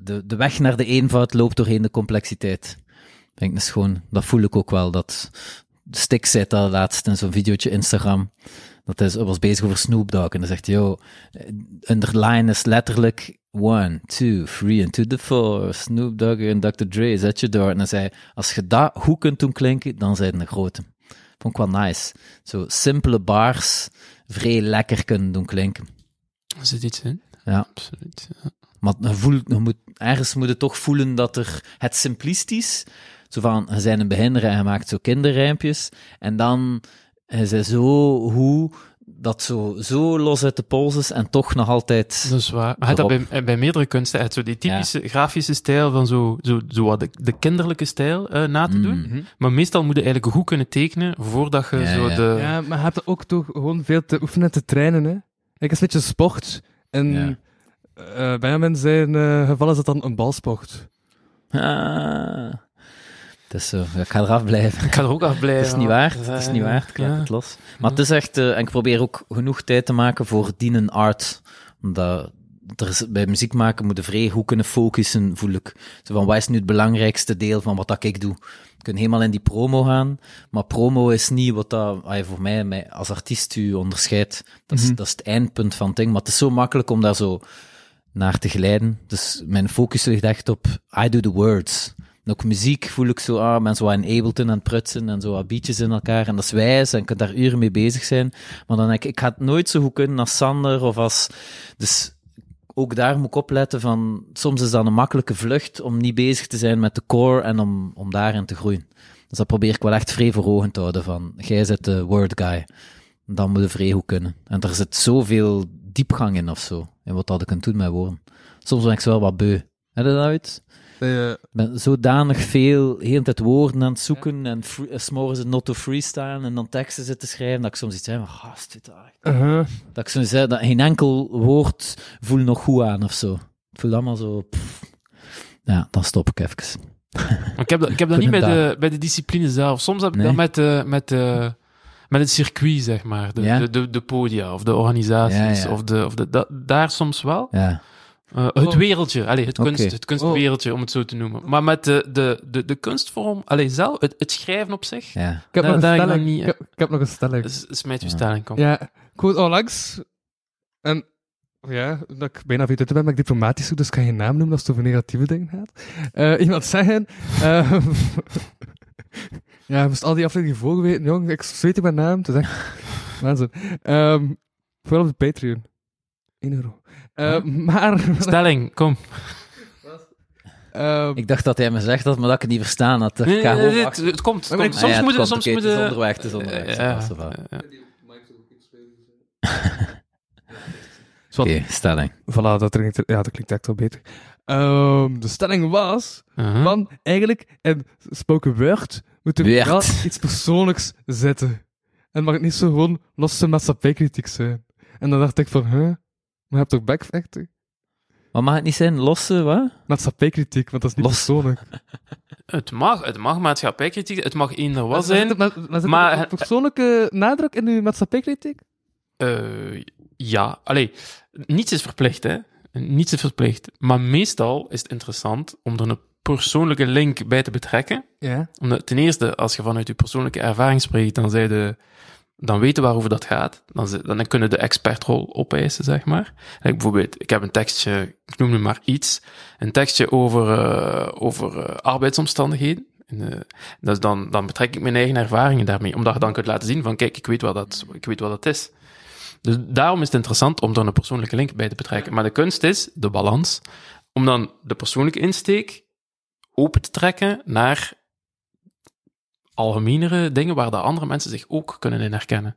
de, de weg naar de eenvoud loopt doorheen de complexiteit. Denk ik, dat is gewoon, dat voel ik ook wel. Dat Stik zei dat laatst in zo'n videootje Instagram. Dat hij zo- was bezig over Snoop Dogg. En dan zegt hij, yo, underline is letterlijk one, two, three and to the four. Snoop Dogg en Dr. Dre, zet je door. En dan zei hij, als je dat goed kunt doen klinken, dan zijn de grote. Vond ik wel nice. Zo simpele bars vrij lekker kunnen doen klinken. Er zit iets in. Ja. Absoluut. Maar je voelt, je moet, ergens moet je toch voelen dat er het simplistisch, zo van, je zijn een behinderen en je maakt zo kinderrijmpjes, en dan je zijn zo hoe dat zo, zo los uit de pols is en toch nog altijd... Dat is waar. Maar je hebt dat bij, eh, bij meerdere kunsten. je hebt zo die typische grafische stijl van zo, zo, zo wat de, de kinderlijke stijl eh, na te doen. Maar meestal moet je eigenlijk goed kunnen tekenen voordat je Mm. Ja, zo ja. de... Ja, maar je hebt ook toch gewoon veel te oefenen en te trainen, hè. Ik is een beetje sport. En Ja. eh, Benjamin zijn eh, geval is dat dan een balsport. Ah, het is zo, ja, ik ga eraf blijven. Ik ga er ook af blijven. Het is niet waar, het is niet waar, ik laat Ja. het los. Maar het is echt, eh, en ik probeer ook genoeg tijd te maken voor dienen art. Omdat er is, bij muziek maken moet je vrij goed kunnen focussen, voel ik. Zo van, wat is nu het belangrijkste deel van wat dat ik doe? Je kunt helemaal in die promo gaan, maar promo is niet wat dat, ah ja, voor mij, mij als artiest u onderscheidt. Dat is, dat is het eindpunt van het ding, maar het is zo makkelijk om daar zo naar te glijden. Dus mijn focus ligt echt op I do the words. En ook muziek voel ik zo, ah, ben zo aan Ableton aan het prutsen en zo wat beatjes in elkaar. En dat is wijs en ik kan daar uren mee bezig zijn. Maar dan denk ik, ik ga het nooit zo goed kunnen als Sander of als... Dus ook daar moet ik opletten van, soms is dat een makkelijke vlucht om niet bezig te zijn met de core en om, om daarin te groeien. Dus dat probeer ik wel echt vrij voor ogen te houden van, jij zit de word guy. Dan moet je vrij goed kunnen. En er zit zoveel diepgang in of zo, in wat dat ik kan doen met woorden. Soms ben ik zo wel wat beu. Heb je dat uit? Dat je- ben zodanig veel, heel de tijd woorden aan het zoeken en fr- eh, 's morgens een notto freestaan en dan teksten zitten schrijven, dat ik soms iets heb van, gast, dit daar. Uh-huh. Dat ik soms zeg, dat geen enkel woord voel nog goed aan of zo. Het voelt allemaal zo, pff. Ja, dan stop ik even. Maar Ik heb dat, ik heb dat niet bij de, bij de discipline zelf. Soms heb ik Nee. dat met, eh, met, eh, met het circuit, zeg maar. De, Ja. de, de, de podia of de organisaties. Ja, ja. Of de, of de, da- daar soms wel. Ja. Eh, het Oh. wereldje, allee, het, Oké. kunst, het kunstwereldje, om het zo te noemen. Maar met de, de, de, de kunstvorm, allee, zelf, het, het schrijven op zich, Ja. Ik heb Daar- nog een daar heb ik stelling. nog niet, Ik heb, ik heb nog een stelling. s- smijt je Ja. stelling, kom. Ja, ik hoorde onlangs. En ja, dat ik bijna veel ben, maar ik diplomatisch doe, dus ik kan geen naam noemen als het over negatieve dingen gaat. Eh, iemand zeggen. ehm, ja, je moest al die afleveringen volgen weten, jong. Ik zweet in mijn naam. Het is echt waanzin. Ehm, vooral op de Patreon. 1 euro. Eh, Maar. Stelling, kom. ehm, Ik dacht dat hij me zegt dat, maar dat ik het niet verstaan had. Ik Nee, ga nee, nee, gewoon dit- wachten. het komt. Maar het komt. ik- Ah ja, Soms het moeten komt, soms oké, het is moeten... onderweg, het is onderweg. eh, Ja, ja, zo wel. ja, ja. Oké, stelling. voilà, dat klinkt, ja, dat klinkt echt wel beter. Ehm, de stelling was. Uh-huh. Want eigenlijk, in spoken word, moet er Werd. wel iets persoonlijks zitten. En mag het niet zo gewoon losse maatschappijkritiek zijn. En dan dacht ik van, huh? Maar je hebt toch backfactor? Maar mag het niet zijn losse, wat? Maatschappijkritiek, want dat is niet Los. persoonlijk. Het mag, het mag maatschappijkritiek, het mag eender was Maar zit zijn. er- Maar, maar zit er maar- een persoonlijke nadruk in uw maatschappijkritiek? Eh, ja, allee, niets is verplicht, hè. Niets is verplicht. Maar meestal is het interessant om er een persoonlijke link bij te betrekken. Ja. Omdat ten eerste, als je vanuit je persoonlijke ervaring spreekt, dan, zij de, dan weten we waarover dat gaat. Dan, ze- dan kunnen de expertrol opeisen, zeg maar. Like bijvoorbeeld, ik heb een tekstje, ik noem nu maar iets, een tekstje over, eh, over eh, arbeidsomstandigheden. En, eh, dus dan, dan betrek ik mijn eigen ervaringen daarmee, omdat je dan kunt laten zien van, kijk, ik weet wat dat, ik weet wat dat is. Dus daarom is het interessant om er een persoonlijke link bij te betrekken. Maar de kunst is de balans, om dan de persoonlijke insteek open te trekken naar algemenere dingen waar de andere mensen zich Hm. ook kunnen in herkennen.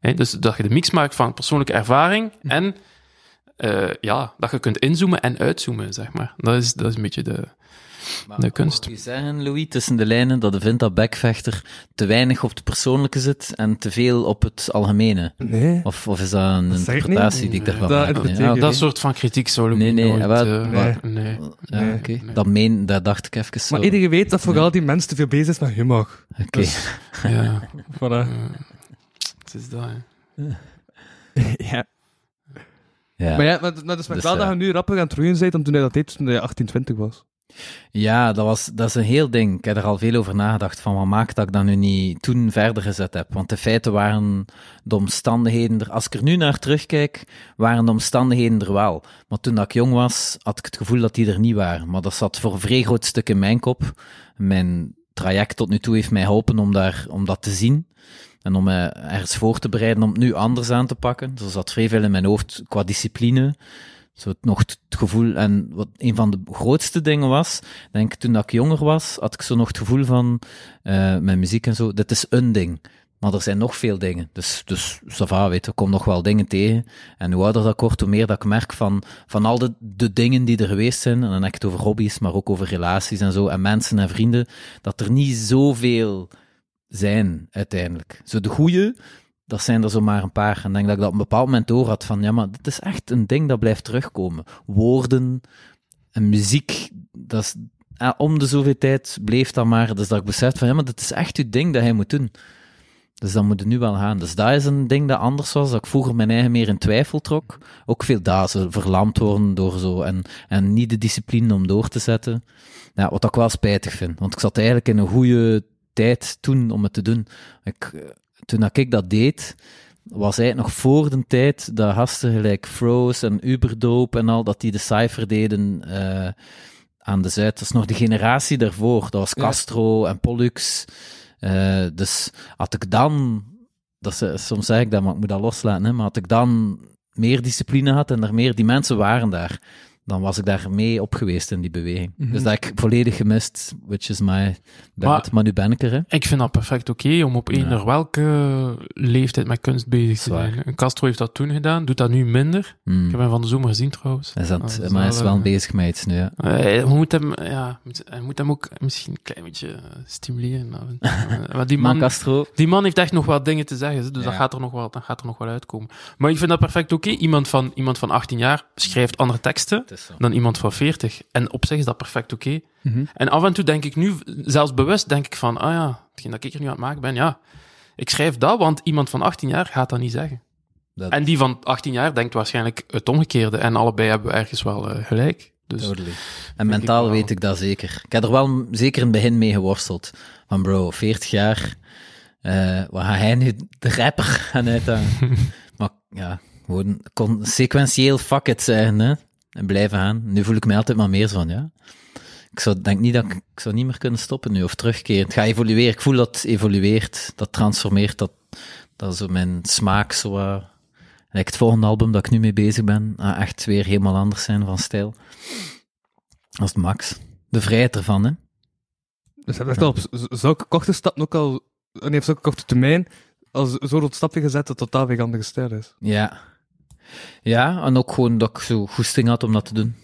Hè, dus dat je de mix maakt van persoonlijke ervaring en eh, ja, dat je kunt inzoomen en uitzoomen, zeg maar. Dat is, dat is een beetje de, Maar de kunst. Mag je zeggen, Louis, tussen de lijnen, dat de vindt dat Bekvechter te weinig op het persoonlijke zit en te veel op het algemene? Nee. Of, of is dat een Dat zeg ik interpretatie niet. die ik daarvan Dat maak? interpreteer Ja, ik. Dat soort van kritiek zou Louis Nee, nee, nooit... wat- eh, nee. nee. ja, Nee. oké. Nee. Dat meen, dat dacht ik even zo. Maar iedereen weet dat vooral die mens te veel bezig is met humor. Oké. Dus- Ja, Voilà. eh, het is dat, hè. Ja. Ja. Maar ja, maar, maar dat is maar Dus, wel eh, dat je nu rapper aan het roeien bent dan toen hij dat deed toen hij 18, 20 was. Ja, dat, was, dat is een heel ding. Ik heb er al veel over nagedacht, van wat maakt dat ik dat nu niet toen verder gezet heb. Want de feiten waren de omstandigheden er... Als ik er nu naar terugkijk, waren de omstandigheden er wel. Maar toen dat ik jong was, had ik het gevoel dat die er niet waren. Maar dat zat voor een vrij groot stuk in mijn kop. Mijn traject tot nu toe heeft mij geholpen om, daar, om dat te zien. En om me ergens voor te bereiden om het nu anders aan te pakken. Dus er zat vrij veel in mijn hoofd qua discipline. Zo het, nog het gevoel, en wat een van de grootste dingen was, denk ik, toen dat ik jonger was, had ik zo nog het gevoel van, eh mijn muziek en zo, dit is een ding. Maar er zijn nog veel dingen. Dus, dus ça va, weet je, ik kom nog wel dingen tegen. En hoe ouder dat ik word, hoe meer dat ik merk van, van al de, de dingen die er geweest zijn, en dan heb ik het over hobby's, maar ook over relaties en zo, en mensen en vrienden, dat er niet zoveel zijn, uiteindelijk. Zo de goeie, dat zijn er zomaar een paar. En ik denk dat ik dat op een bepaald moment door had van, ja, maar dit is echt een ding dat blijft terugkomen. Woorden en muziek, dat is, eh, om de zoveel tijd bleef dat maar. Dus dat ik besefte van, ja, maar dit is echt het ding dat hij moet doen. Dus dat moet het nu wel gaan. Dus dat is een ding dat anders was, dat ik vroeger mijn eigen meer in twijfel trok. Ook veel daar, zo verlamd worden door zo, en, en niet de discipline om door te zetten. Ja, wat ik wel spijtig vind, want ik zat eigenlijk in een goede tijd toen om het te doen. Ik, eh, toen dat ik dat deed, was eigenlijk nog voor de tijd dat gasten gelijk Froze en Uberdope en al, dat die de cijfer deden eh, aan de Zuid. Dat is nog de generatie daarvoor. Dat was Ja. Castro en Pollux. Eh, dus had ik dan, dat is, eh, soms zeg ik dat, maar ik moet dat loslaten, hè, maar had ik dan meer discipline had en er meer, die mensen waren daar, dan was ik daar mee op geweest in die beweging. Dus dat heb ik volledig gemist, which is my bad. Maar, Maar- nu ben ik er, hè. Ik vind dat perfect oké om op eender welke leeftijd met kunst bezig te Zwaar. zijn. En Castro heeft dat toen gedaan, doet dat nu minder. Hmm. Ik heb hem van de zomer gezien trouwens. Hij is aan het- Oh, dat is maar hij is wel, wel eh, bezig met iets nu, ja. Eh, je moet hem, ja, moet- hij moet hem ook misschien een klein beetje eh, stimuleren. Maar, eh, maar die, Man man, Castro, die man heeft echt nog wel dingen te zeggen, dus Ja. dat, gaat er nog wel, dat gaat er nog wel uitkomen. Maar ik vind dat perfect oké. Iemand, van, iemand van 18 jaar schrijft andere teksten het is zo. dan iemand van 40. En op zich is dat perfect oké. Mhm. En af en toe denk ik nu, zelfs bewust, denk ik van, ah ja, hetgeen dat ik er nu aan het maken ben, ja, ik schrijf dat, want iemand van 18 jaar gaat dat niet zeggen. Dat- En die van 18 jaar denkt waarschijnlijk het omgekeerde. En allebei hebben we ergens wel eh, gelijk. Dus Totally. En mentaal wel. weet ik dat zeker. Ik heb er wel m- zeker in het begin mee geworsteld. Van bro, 40 jaar, eh wat gaat hij nu de rapper gaan uithangen? maar ja, gewoon kon, sequentieel fuck it zeggen, hè. En blijven gaan. Nu voel ik mij altijd maar meer zo van, ja. Ik zou, denk niet dat ik, ik zou niet meer kunnen stoppen nu, of terugkeren. Het gaat evolueren. Ik voel dat het evolueert, dat transformeert, dat, dat zo mijn smaak zo... wat- Like het volgende album dat ik nu mee bezig ben, ah, echt weer helemaal anders zijn van stijl. Als het max. De vrijheid ervan, hè. Dus hij heeft echt al op z- zulke korte stappen ook al, en hij heeft zulke korte termijn, al z- zo'n rood stapje gezet dat het totaal weer andere stijl is. Ja. Ja, en ook gewoon dat ik zo goesting had om dat te doen.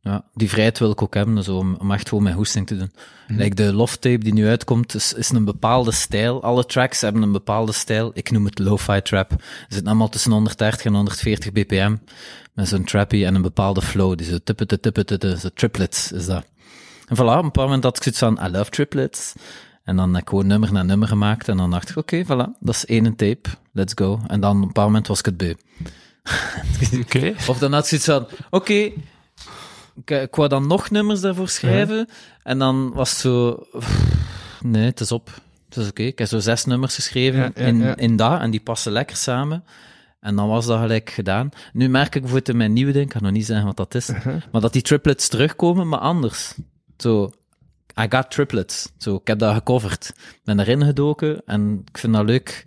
Ja, die vrijheid wil ik ook hebben, dus om, om echt gewoon mijn goesting te doen. Like de Love Tape die nu uitkomt, is, is een bepaalde stijl. Alle tracks hebben een bepaalde stijl. Ik noem het lo-fi trap. Er zitten allemaal tussen 130 en 140 bpm. Met zo'n trappy en een bepaalde flow. Die zo tippete, tippete, tippete, zo triplets is dat. En voilà, op een bepaald moment had ik zoiets van, I love triplets. En dan heb ik gewoon nummer na nummer gemaakt. En dan dacht ik, oké, voilà, dat is één tape. Let's go. En dan op een bepaald moment was ik het beu. oké. Of dan had ze iets van, oké, ik, eh, ik wou dan nog nummers daarvoor schrijven. En dan was het zo, pff, nee, het is op. Het is oké. Ik heb zo zes nummers geschreven Ja, ja, in, ja. in dat, en die passen lekker samen. En dan was dat gelijk gedaan. Nu merk ik bijvoorbeeld in mijn nieuwe ding, ik kan nog niet zeggen wat dat is, Uh-huh. maar dat die triplets terugkomen, maar anders. Zo, I got triplets. Zo, ik heb dat gecoverd. Ik ben erin gedoken en ik vind dat leuk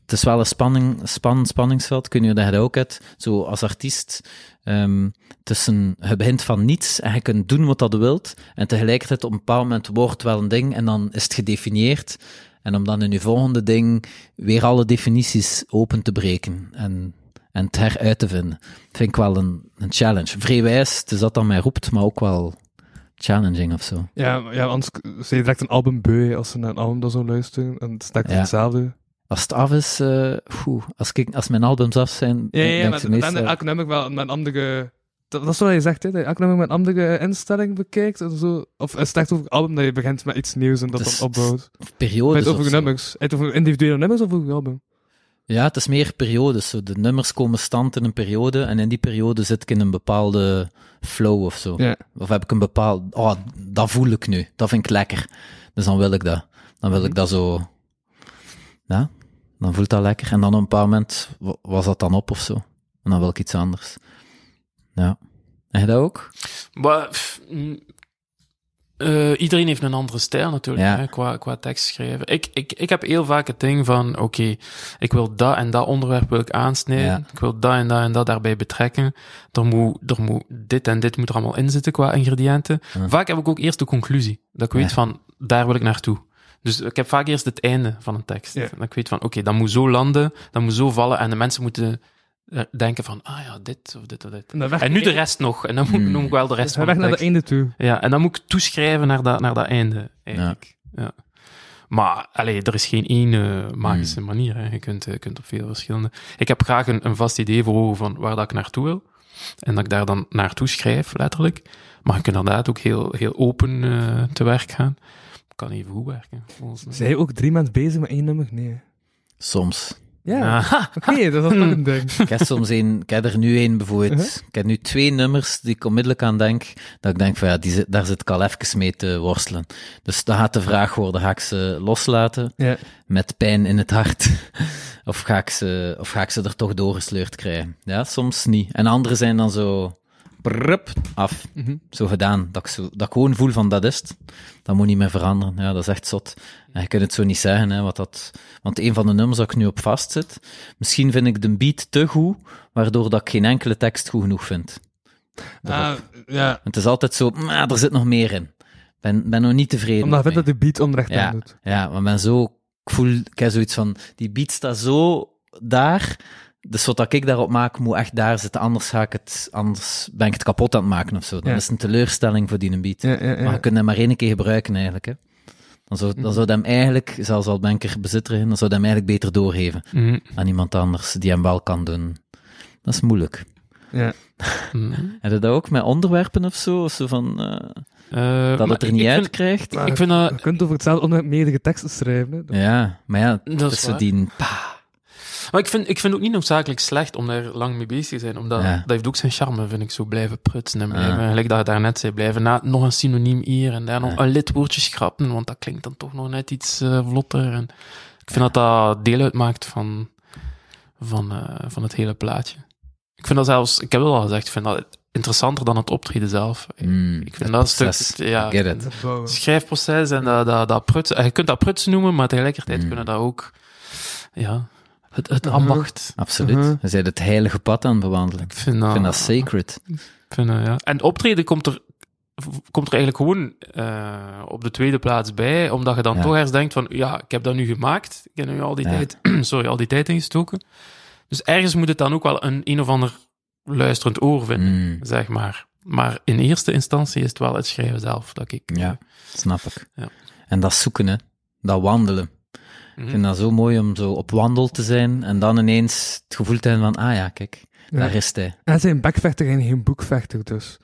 het is wel een spanning, span, spanningsveld. Kun je dat je dat ook hebt, zo als artiest. ehm tussen, je begint van niets en je kunt doen wat dat je wilt. En tegelijkertijd op een bepaald moment wordt het wel een ding en dan is het gedefinieerd. En om dan in je volgende ding weer alle definities open te breken. En, en en het heruit te vinden. Dat vind ik wel een, een challenge. Vrijwijs, het is dat dat mij roept, maar ook wel challenging of zo. Ja, maar ja, anders k- zijn je direct een album beu als ze naar een album dat zo luisteren. En het is direct Ja. hetzelfde. Als het af is, eh, oeh, als, ik, als mijn albums af zijn, Ja, ja, denk ja ik maar het meestal- dan elk nummer wel met een andere... Dat, dat is wat je zegt, hè. Dat je elk nummer met een andere instelling bekijkt. En zo. Of het is echt over het album dat je begint met iets nieuws en dat Dus- dan opbouwt. periodes Bij het of over zo. nummers. Het over individuele nummers of over je album? Ja, het is meer periodes. Zo, de nummers komen stand in een periode en in die periode zit ik in een bepaalde flow of zo. Ja. Of heb ik een bepaald... Oh, dat voel ik nu. Dat vind ik lekker. Dus dan wil ik dat. Dan wil ik dat zo... Ja, dan voelt dat lekker. En dan op een bepaald moment wa- was dat dan op of zo. En dan wil ik iets anders. Ja. En jij dat ook? Maar, pff, mm, eh, iedereen heeft een andere stijl natuurlijk, Ja. hè, qua, qua tekst schrijven. Ik, ik, ik heb heel vaak het ding van, oké, ik wil dat en dat onderwerp wil ik aansnijden. Ja. Ik wil dat en dat en dat daarbij betrekken. Er moet, er moet dit en dit moet er allemaal in zitten qua ingrediënten. Ja. Vaak heb ik ook eerst de conclusie, dat ik weet Ja. van, daar wil ik naartoe. Dus ik heb vaak eerst het einde van een tekst. Ja. Dat ik weet van, oké, dat moet zo landen, dat moet zo vallen en de mensen moeten eh, denken van, ah ja, dit of dit of dit. En, dan weg, En nu de rest nog. En dan moet, Hmm. noem ik wel de rest Hij Dus weg van de naar de e- tekst. einde toe. Ja, en dan moet ik toeschrijven naar dat, naar dat einde, eigenlijk. Ja. Maar allee, er is geen één eh, magische Hmm. manier. Hè. Je kunt, eh, kunt op veel verschillende... Ik heb graag een, een vast idee voor ogen van waar dat ik naartoe wil. En dat ik daar dan naartoe schrijf, letterlijk. Maar je kunt inderdaad ook heel, heel open eh, te werk gaan. Kan even goed werken, volgens mij. Zijn jij ook drie maanden bezig met één nummer? Nee. Soms. Ja, Aha. oké, dus dat is toch een ding. Ik heb soms één, ik heb er nu één bijvoorbeeld. Uh-huh. Ik heb nu twee nummers die ik onmiddellijk aan denk, dat ik denk van ja, die, zit- daar zit ik al even mee te worstelen. Dus dan gaat de vraag worden, ga ik ze loslaten Ja. met pijn in het hart? Of ga ik ze, of ga ik ze er toch doorgesleurd krijgen? Ja, soms niet. En andere zijn dan zo, prup, af. Mhm. Zo gedaan. Dat ik, zo, dat ik gewoon voel van dat is het. Dat moet niet meer veranderen. Ja, dat is echt zot. En je kunt het zo niet zeggen, hè, wat dat... Want een van de nummers dat ik nu op vastzit, misschien vind ik de beat te goed, waardoor dat ik geen enkele tekst goed genoeg vind. Ah, ja. Het is altijd zo, "Mm, ah, er zit nog meer in. Ik ben, ben nog niet tevreden. Omdat je vindt mee." dat de beat onrecht ja, aan doet. ja, maar ik ben zo... Ik voel, ik heb zoiets van, die beat staat zo daar, dus wat dat ik daarop maak, moet echt daar zitten, anders, ga ik het, anders ben ik het kapot aan het maken of zo. Dan Ja. is het een teleurstelling voor die beat. Ja, ja, Maar ja. je kunt hem maar één keer gebruiken eigenlijk. Hè. Dan, zou, Mhm. dan zou dat hem eigenlijk, zelfs al ben ik er bezitter in, dan zou dat hem eigenlijk beter doorgeven Mhm. aan iemand anders die hem wel kan doen. Dat is moeilijk. ja. Mhm. Heb je dat ook met onderwerpen of zo? Of zo van, eh, Eh, dat maar het er niet ik uit vind- krijgt? Maar Ik vind dat... Je kunt over hetzelfde onderwerp meerdere teksten schrijven. Hè. Ja, maar ja, Dat dat is is zo waar. die... Maar ik vind, ik vind ook niet noodzakelijk slecht om daar lang mee bezig te zijn. Omdat Ja. dat heeft ook zijn charme, vind ik. Zo blijven prutsen en blijven, Ja. gelijk dat je daarnet zei, blijven na, nog een synoniem hier en daar nog Ja. een lidwoordje schrappen. Want dat klinkt dan toch nog net iets eh, vlotter. En ik vind dat dat deel uitmaakt van, van, eh, van het hele plaatje. Ik vind dat zelfs, ik heb het al gezegd, ik vind dat interessanter dan het optreden zelf. Mm, Ik vind dat een proces. stuk, ja, I get it. Dat bouwen. schrijfproces en dat, dat, dat prutsen. En Je kunt dat prutsen noemen, maar tegelijkertijd Mm. kunnen dat ook, ja, het, het ambacht. Absoluut. Uh-huh. Je bent het heilige pad aan het bewandelen. Ik vind dat, Ah. Ik vind dat sacred. ik vind dat, ja. En optreden komt er, v- komt er eigenlijk gewoon eh, op de tweede plaats bij, omdat je dan Ja. toch eens denkt van, ja, ik heb dat nu gemaakt, ik heb nu al die, Ja. tijd, sorry, al die tijd ingestoken. Dus ergens moet het dan ook wel een een of ander luisterend oor vinden, Mm, zeg maar. Maar in eerste instantie is het wel het schrijven zelf dat ik... ja, snap ik. Ja. En dat zoeken, hè. Dat wandelen. Mhm. Ik vind dat zo mooi om zo op wandel te zijn en dan ineens het gevoel te hebben van, ah ja, kijk, Ja. daar is hij. En hij zijn bekvechter en geen boekvechter, dus...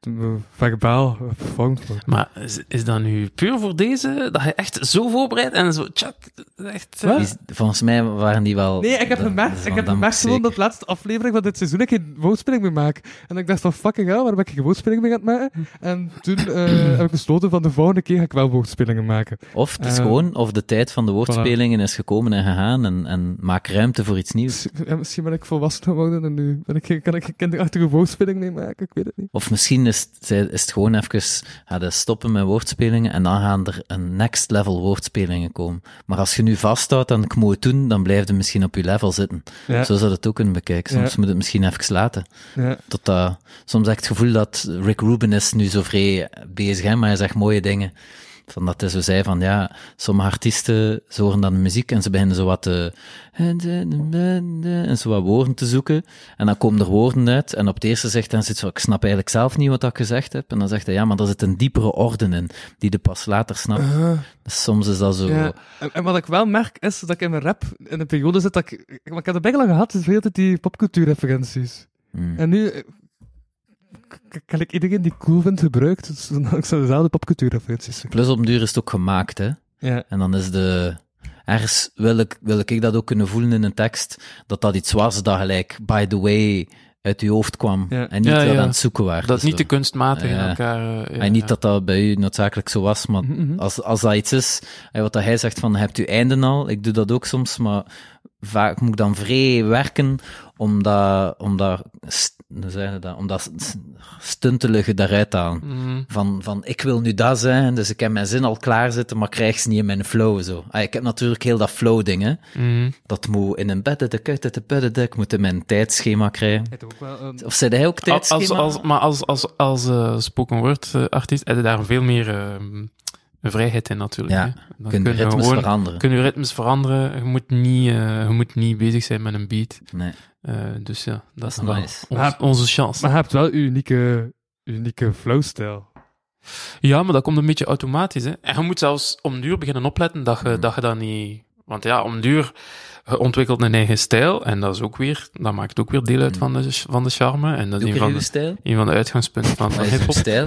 eh, Verbaal, eh, vervormd wordt. Maar is, is dat nu puur voor deze, dat je echt zo voorbereid en zo, tjak, echt... eh, Wat? Die- Volgens mij waren die wel... Nee, ik heb dat- gemerkt, dat- ik heb dat gemerkt moet gewoon dat de laatste aflevering van dit seizoen ik geen woordspeling meer maak. En ik dacht van fucking hell, waar ben ik geen woordspeling mee aan het maken? En toen eh, heb ik besloten van de volgende keer ga ik wel woordspelingen maken. zeker. Of het is Eh, gewoon, of de tijd van de woordspelingen is gekomen en gegaan en, en maak ruimte voor iets nieuws. Misschien- ja, misschien ben ik volwassen geworden en nu ben ik, geen- kan ik geen kinderachtige woordspeling mee maken, ik weet het niet. Of misschien is het, zij- is het gewoon even gaan we stoppen met woordspelingen en dan gaan er een next level woordspelingen komen. Maar als je nu vasthoudt aan ik moet het doen, dan blijf je misschien op je level zitten. Ja, Zo zou dat ook kunnen bekijken. Soms Ja. moet het misschien even laten. ja. Dat, eh, dat, soms heb ik het gevoel dat Rick Rubin is nu zo vrij bezig, hè, maar hij zegt mooie dingen. Van dat hij zo zei van, ja, sommige artiesten ze horen dan de muziek en ze beginnen zo wat te... En zo wat woorden te zoeken. En dan komen er woorden uit. En op het eerste zegt hij zoiets van, ik snap eigenlijk zelf niet wat ik gezegd heb. En dan zegt hij, ja, maar daar zit een diepere orde in, die de pas later snapt. Eh. Dus soms is dat zo... Ja. En, en wat ik wel merk is dat ik in mijn rap in een periode zit dat ik. ik- Want ik heb het bijna lang gehad, dus de hele tijd die popcultuurreferenties. Mm. En nu. eh, k- k- Kan ik iedereen die ik cool vind gebruikt, dus dan ik zo dezelfde popcultuurreferenties. Plus op den duur is het ook gemaakt, hè. Ja. En dan is de... Ergens wil ik, wil ik dat ook kunnen voelen in een tekst, dat dat iets was dat gelijk, by the way, uit je hoofd kwam. Ja. En niet Ja, dat ja. aan het zoeken was. Dat niet te kunstmatig in Ja. elkaar... eh, ja, en niet ja. Mhm, dat dat bij u noodzakelijk zo was, maar als, als dat iets is, eh, wat dat hij zegt van, hebt u einden al? Ik doe dat ook soms, maar vaak moet ik dan vrij werken om dat, om dat, st- hoe zeg je dat, om dat st- stuntelige daaruit te halen. Mm. Van, van, ik wil nu dat zijn, dus ik heb mijn zin al klaar zitten, maar ik krijg ze niet in mijn flow, zo. Ah, ik heb natuurlijk heel dat flow-ding, hè. Mm. Dat moet in een beddedek, uit het beddedek, moet in mijn tijdschema krijgen. Het ook wel een... Of zei hij ook Als, als, tijdschema? als- maar als, als, als eh, spoken word eh, artiest heb je daar veel meer ehm, vrijheid in natuurlijk. Ja, hè. Dan Kun je kun je ritmes gewoon- veranderen? kun je ritmes veranderen. Je moet niet, eh, je moet niet bezig zijn met een beat. Nee. Eh, dus ja, dat is Dat is wel nice. ons- Maar- onze chance. Maar je hebt wel je unieke, unieke flowstijl. ja, maar dat komt een beetje automatisch. Hè. En je moet zelfs om duur beginnen opletten dat Hmm. je, dat je dat niet... Want ja, om duur je ontwikkelt een eigen stijl. En dat, is ook weer, dat maakt ook weer deel uit van de, van de charme. En dat Hmm. is Doe een ik er van uw de, stijl? een van de uitgangspunten van, van Wat is uw hip-hop. stijl?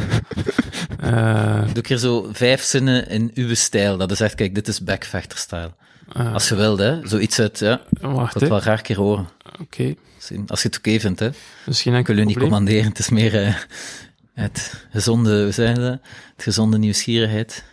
Eh, Doe ik er zo vijf zinnen in uw stijl. Dat is echt, kijk, dit is backvechter-stijl. eh, Als je wilt, hè. Zoiets uit, ja. Ik wacht, wil het hè. wel Oké. graag een keer horen. Zien, Als je het oké vindt, hè. Ik Dus geen enkel wil je niet probleem. commanderen. Het is meer eh, het gezonde, hoe zeg je dat? Het gezonde nieuwsgierigheid.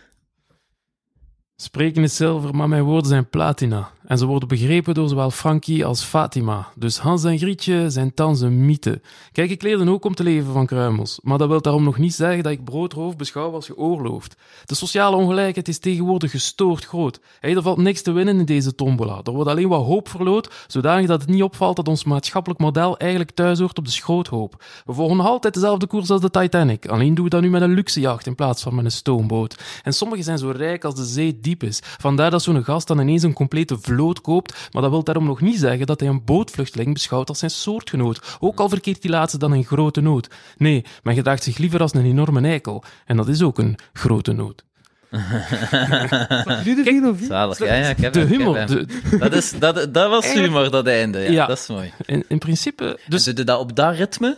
Spreken is zilver, maar mijn woorden zijn platina. En ze worden begrepen door zowel Frankie als Fatima. Dus Hans en Grietje zijn thans een mythe. Kijk, ik leerde ook om te leven van kruimels. Maar dat wil daarom nog niet zeggen dat ik broodroof beschouw als geoorloofd. De sociale ongelijkheid is tegenwoordig gestoord groot. Hey, er valt niks te winnen in deze tombola. Er wordt alleen wat hoop verloot, zodanig dat het niet opvalt dat ons maatschappelijk model eigenlijk thuis hoort op de schroothoop. We volgen nog altijd dezelfde koers als de Titanic. Alleen doen we dat nu met een luxejacht in plaats van met een stoomboot. En sommigen zijn zo rijk als de zee diep is. Vandaar dat zo'n gast dan ineens een complete vloot koopt, maar dat wil daarom nog niet zeggen dat hij een bootvluchteling beschouwt als zijn soortgenoot. Ook al verkeert die laatste dan in grote nood. Nee, men gedraagt zich liever als een enorme eikel. En dat is ook een grote nood. Snap je Nu de vier of vier? Zalig. Ja, ja, ik heb De hem, ik humor, heb hem. de, Dat, is, dat, dat was humor, dat einde. Ja, Ja. dat is mooi. in, in principe... Dus Dus ze doen dat op dat ritme?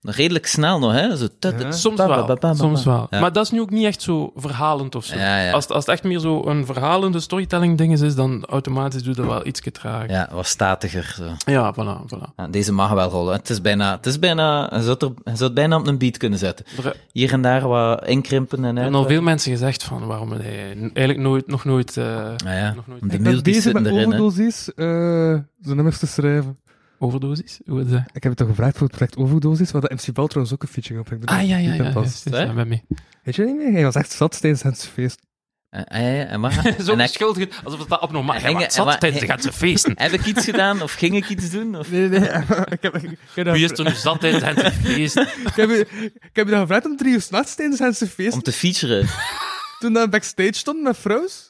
Nog redelijk snel nog, hè? Zo tut- Ja. Soms ba- ba- ba- wel. ba- ba- Soms wel. Ja. Maar dat is nu ook niet echt zo verhalend of zo. Ja, ja. Als, het- als het echt meer zo een verhalende storytelling ding is, dan automatisch doe je dat wel iets trager. Ja, Ja, wat statiger. Zo. voilà, voilà. Ja, deze mag wel rollen. Het is bijna, het is bijna je, zou het er, je zou het bijna op een beat kunnen zetten. Er Hier en daar wat inkrimpen en hebben al veel mensen gezegd van waarom hij eigenlijk nooit, nog nooit... eh, Nou ja, Nog nooit. de Ik ben multis bezig zitten met erin. hè. overdosies, eh zo nummers te schrijven. Overdosis? Hoe het, eh, Ik heb het al gevraagd voor het project Overdosis, waar de MC Bal trouwens ook een featuring op heeft. Ah, ja, ja, Niet ja. dat ja, past. juist, ja, Hè? ben mee. Weet je niet meer? Hij was echt zat tijdens het feest. Eh, ah, ja, ja, en wat- Zo en heb- beschuldigend, alsof het dat abnormaal is. Hingen- Ja, en zat wat- tijdens de ganse feesten. Heb ik iets gedaan of ging ik iets doen? Of... Nee, nee, nee. ik, heb, ik, heb dat- Wie is er nu zat tijdens de ganse feesten? ik, heb, ik heb je dat gevraagd om drie uur s'nachts tijdens het feest. Om te featuren. Toen we backstage stonden met vrouws.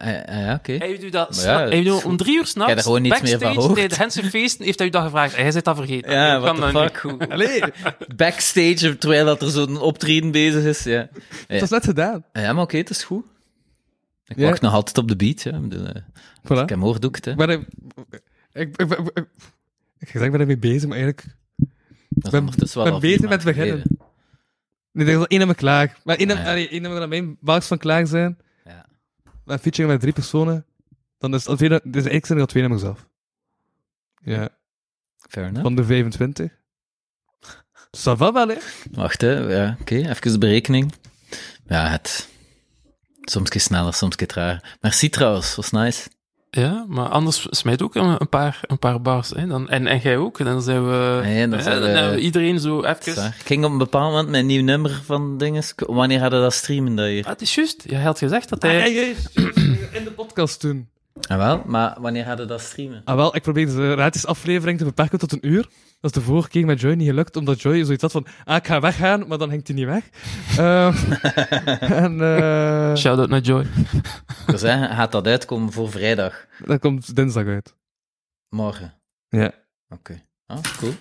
Eh, eh, ja, oké. Hij heeft u dat Maar sna- ja, hij heeft u het is om drie uur Ik heb s'nachts, er gewoon niets meer van backstage, gehoord. tijdens Hense feesten, heeft hij u dat gevraagd. Hij zit dat vergeten. Ja, Hoe what kan the dat nu? fuck. Hoe- Allee, Backstage, terwijl dat er zo'n optreden bezig is. Ja, het was net gedaan. Eh, ja maar oké, het is goed. Ik Ja. wacht nog altijd op de beat. Ja. Ik bedoel, eh, Voilà. Ik heb hoor, doe ik het. Hè. Ik ben er- ik, ik, ik, ik, ik zeg, ik ben ermee bezig, maar eigenlijk... Dat is ben- ondertussen wel ben al beter vier met maanden beginnen. geleden. Nee, er is al één nummer klaar. Maar één nummer, Ah, ja. allee, één nummer dat mijn baas van klaar zijn. Ja. Met een featuring met drie personen. Dan is het al twee, dus eigenlijk zijn er al twee nummers af. Ja, Fair enough. van de 25. Ça va wel, hè? Wacht, hè. Ja, oké. Even de berekening. Ja, het... Soms keer sneller, soms keer trager. Merci trouwens, was nice. Ja, maar anders smijt ook een, een paar, een paar bars. Hè? Dan, en, en jij ook. Dan zijn we, Nee, dan hè, zijn we- nou, eh, hebben iedereen zo Dat is even. waar. Ik ging op een bepaald moment mijn nieuw nummer van dinges... Wanneer hadden we dat streamen, dat hier? Ah, het is juist. Jij had gezegd dat Ah, hij. ja, juist, juist. in de podcast toen. Ah, wel, maar wanneer hadden dat streamen? Ah, wel, ik probeer de gratis aflevering te beperken tot een uur. Dat is de vorige keer met Joy niet gelukt, omdat Joy zoiets had van, ah, ik ga weggaan, maar dan hangt hij niet weg. Ehm, en eh, Shout-out naar Joy. Dus hè, gaat dat uitkomen voor vrijdag, dat komt dinsdag uit. morgen. Ja. Oké. Ah, cool.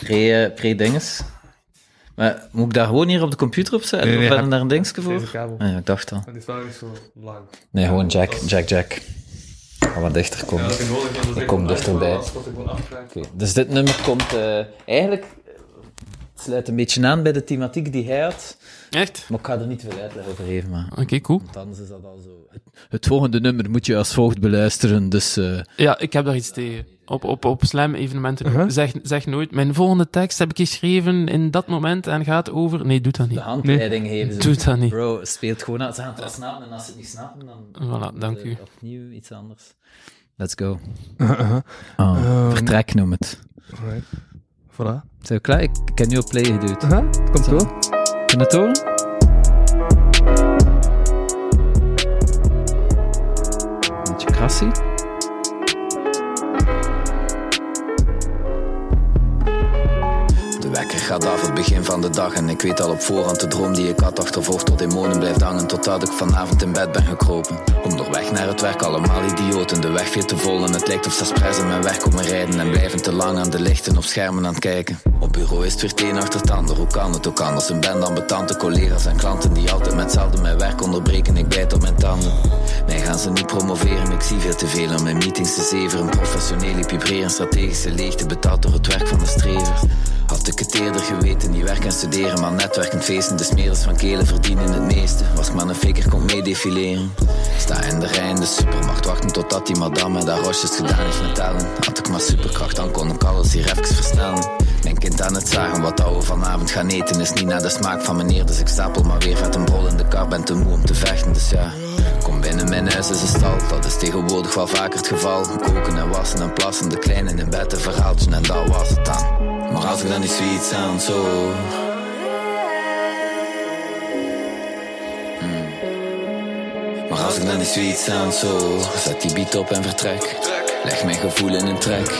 Pre, eh, Pre-dinges. maar moet ik daar gewoon hier op de computer op zetten? Nee, nee, of hebben heb- we daar een dingetje Deze voor? kabel. Ah, ja, ik dacht al. Dat is wel niet zo lang. Nee, gewoon Jack, Jack, Jack. Ga wat dichter komen. Oké, ik kom dichterbij. als Dus dit nummer komt eh, eigenlijk... eh, Het sluit een beetje aan bij de thematiek die hij had. Echt? Maar ik ga er niet veel uitleg over geven, maar... Oké, cool. Want anders is dat al zo. Het, het volgende nummer moet je als volgt beluisteren, dus... eh, Ja, ik heb daar iets tegen. Op, op, op slam-evenementen. Uh-huh. zeg, zeg nooit, mijn volgende tekst heb ik geschreven in dat moment en gaat over... Nee, doe dat de niet. handleiding geven ze. Doe dat niet. Bro, speelt gewoon aan. Ze gaan het wel snappen en als ze het niet snappen, dan... Voilà, dank u. eh, Opnieuw iets anders. Let's go. Ah, Ehm. vertrek noem het. Uh-huh, Alright. Voilà. Zijn we klaar? Ik, ik heb nu op play geduwd. Aha, het komt Zo. wel. Kunnen we het horen? Beetje krassie. De wekker gaat af het begin van de dag en ik weet al op voorhand de droom die ik had achtervolgd tot demonen blijft hangen totdat ik vanavond in bed ben gekropen. Onderweg naar het werk allemaal idioten, de weg veel te vol en het lijkt of ze expres in mijn weg komen rijden en blijven te lang aan de lichten of schermen aan het kijken. Op bureau is het weer het een achter het ander, hoe kan het ook anders? Een band aan betante collega's en klanten die altijd met zelden mijn werk onderbreken, ik bijt op mijn tanden. Mij gaan ze niet promoveren, ik zie veel te veel aan mijn meetings te zeveren. Professionele pibreren, strategische leegte betaald door het werk van de strevers. Had ik het eerder geweten, niet werken en studeren, maar netwerken, feesten. De smerers van Kelen verdienen het meeste. Was ik maar een faker, kon meedefileren. Sta in de rij in de supermarkt, wachten totdat die madame daar rosjes gedaan heeft met tellen. Had ik maar superkracht, dan kon ik alles hier even versnellen. Mijn kind aan het zagen, wat dat we vanavond gaan eten is niet naar de smaak van meneer. Dus ik stapel maar weer vet een brol in de kar, ben te moe om te vechten, dus ja. Kom binnen, mijn huis is een stal, dat is tegenwoordig wel vaker het geval. Koken en wassen en plassen, de kleinen in bed, een verhaaltje en dat was het dan. Maar als ik dan die sweet sounds hoor Mm. Maar als ik dan die sweet sounds hoor Zet die beat op en vertrek Leg mijn gevoel in een track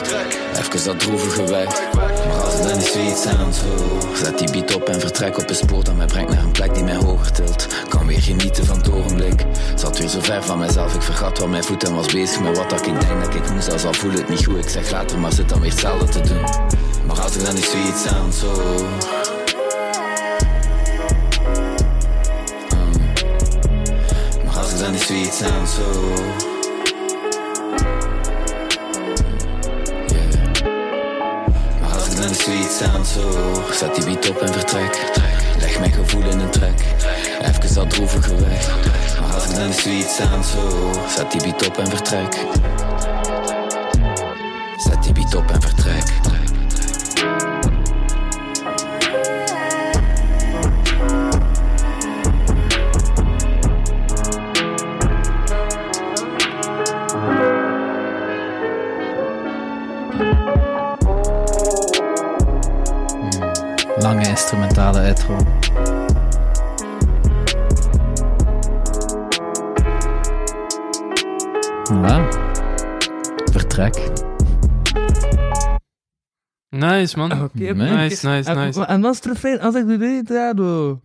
Even dat droevige weg Maar als ik dan die sweet sounds hoor Zet die beat op en vertrek op een spoor Dat mij brengt naar een plek die mij hoger tilt Kan weer genieten van het ogenblik Zat weer zo ver van mezelf Ik vergat wat mijn voet en was bezig met wat dat ik denk dat ik moest Als al voel het niet goed Ik zeg later maar zit dan weer hetzelfde te doen Maar als ik dan die sweet sounds hoor Maar als ik dan die sweet sounds zo. Yeah. Maar als ik dan die sweet sounds zo. Zet die beat op en vertrek. Leg mijn gevoel in een track. Even dat droevige weg. Maar als ik dan die sweet sounds zo. Zet die beat op en vertrek. Zet die beat op en vertrek. Lange instrumentale uitrol. Voilà. Vertrek. Nice, man. Oké, Nee. Nice, nice, nice. En dan is het refrein, als ik doe dit, ja, doe.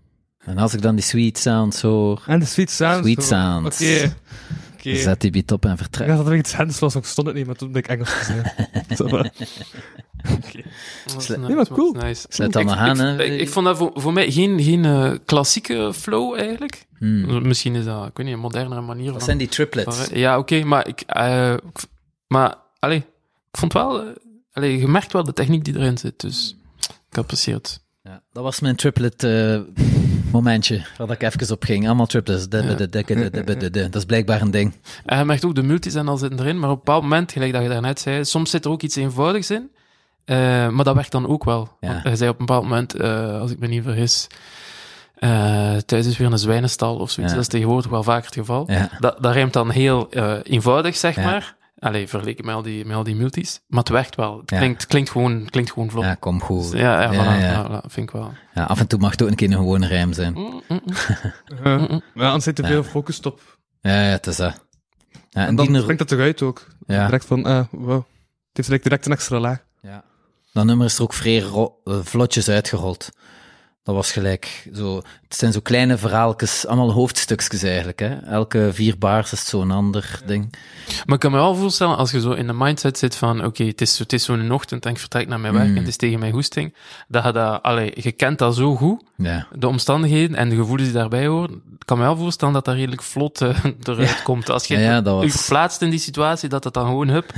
En als ik dan die sweet sounds hoor, En de Sweet Sounds. Sweet zo. Sounds. Oké. Oké. zet die beat op en Ik vertrek. dacht dat er iets Hens was, maar ik stond het niet, maar toen ben ik Engels gezegd. Zo van, Dat was Sle- nice, Ja, maar man. cool. Nice. Sluit allemaal aan, ik, hè. Ik, ik vond dat voor, voor mij geen, geen eh, klassieke flow, eigenlijk. Hmm. Misschien is dat, ik weet niet, een modernere manier Dat van... zijn die triplets. Maar, Ja, oké, maar ik... eh, ik v- maar, allee, ik vond wel... eh, allee, je merkt wel de techniek die erin zit, dus ik apprecieer het. Ja, dat was mijn triplet eh, momentje, waar ik even op ging. Allemaal triplets. De- de- de- de- de- de- de- de- de. Dat is blijkbaar een ding. En je merkt ook, de multis en al zitten erin, maar op een bepaald moment, gelijk dat je daarnet zei, soms zit er ook iets eenvoudigs in, eh, maar dat werkt dan ook wel. Ja. Want hij zei op een bepaald moment, eh, als ik me niet vergis, eh, thuis is weer een zwijnenstal of zoiets, Ja. dat is tegenwoordig wel vaker het geval. Ja. Dat, dat rijmt dan heel eh, eenvoudig, zeg Ja. maar. Allee, vergeleken met al, die, met al die multis. Maar het werkt wel. Het Ja. klinkt, het klinkt, gewoon, het klinkt gewoon vlot. ja, kom goed. Dus Ja, ja, Ja, voilà, ja. voilà, vind ik wel. Ja, af en toe mag het ook een keer een gewone rijm zijn. Mm, mm, mm. Uh-huh. eh, Maar anders zit te veel focus op. Ja, ja, het is dat. Ja, en En dan die springt dat eruit ook. Ja. Direct van, ah, wow. Het heeft direct, direct een extra laag. Ja. Dat nummer is er ook vrij ro- eh, vlotjes uitgerold. Dat was gelijk zo... Het zijn zo kleine verhaaltjes, allemaal hoofdstukjes eigenlijk. Hè? Elke vier baars is het zo'n ander ding. Maar ik kan me wel voorstellen, als je zo in de mindset zit van, oké, het is, het is zo'n ochtend en ik vertrek naar mijn werk Mm. en het is tegen mijn hoesting, dat je dat, allee, je kent dat zo goed, Ja. de omstandigheden en de gevoelens die daarbij horen, ik kan me wel voorstellen dat dat redelijk vlot eh, eruit komt. Als je Ja, ja, dat je was- verplaatst in die situatie, dat het dan gewoon hup.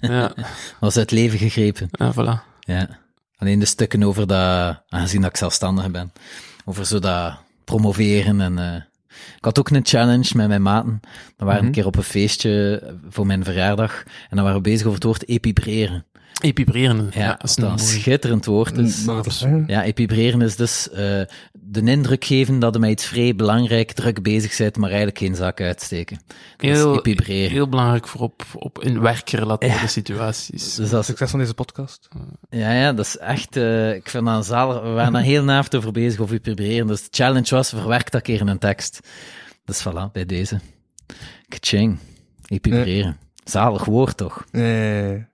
ja, Was uit leven gegrepen. ja, voilà. Ja. Alleen de stukken over dat... Aangezien dat ik zelfstandig ben. Over zo dat promoveren en... eh, ik had ook een challenge met mijn maten. We waren Mhm. een keer op een feestje voor mijn verjaardag. En dan waren we bezig over het woord epibreren. Epibreren. Ja, Ja, dat is een dat is een mooi. schitterend woord is. Ja, epibreren is dus eh, de indruk geven dat je met iets vrij belangrijk druk bezig bent, maar eigenlijk geen zak uitsteken. Dat is Heel, epibreren. heel belangrijk voor op, op in werkgerelateerde situaties. dus dat is, Succes van deze podcast. ja, ja, dat is echt, eh, ik vind dat een zalig. We waren daar heel na avond over bezig of epibreren. Dus de challenge was, verwerk dat keer in een tekst. Dus voilà, bij deze. Kaching, epibreren. Zalig woord toch? Nee.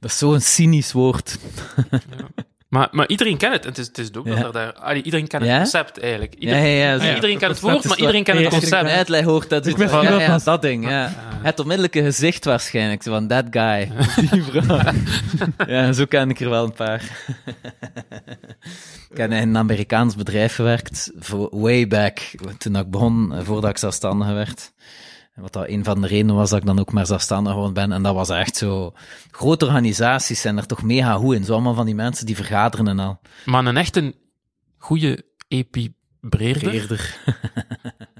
Dat is zo'n cynisch woord. Maar, maar iedereen kent het. En het is, het is ook Ja. dat er daar... allee, iedereen kent het Ja? concept, eigenlijk. Ja, Iedereen, ja, ja. zo. iedereen kent het Dat woord, is maar wel- iedereen kent het Ja, als je concept. een uitleg hoort, dat is ben ja, van ja, Belfast. dat ding. Ja. Het onmiddellijke gezicht waarschijnlijk, zo van that guy. Die vrouw. ja, zo ken ik er wel een paar. ik heb in een Amerikaans bedrijf gewerkt, voor way back, toen ik begon, eh, voordat ik zelfstandig werd. En Wat dat een van de redenen was dat ik dan ook maar zelfstandig geworden ben. En dat was echt zo... Grote organisaties zijn er toch mega goed in. Zo allemaal van die mensen die vergaderen en al. Maar een echte goede epibreerder, Eerder.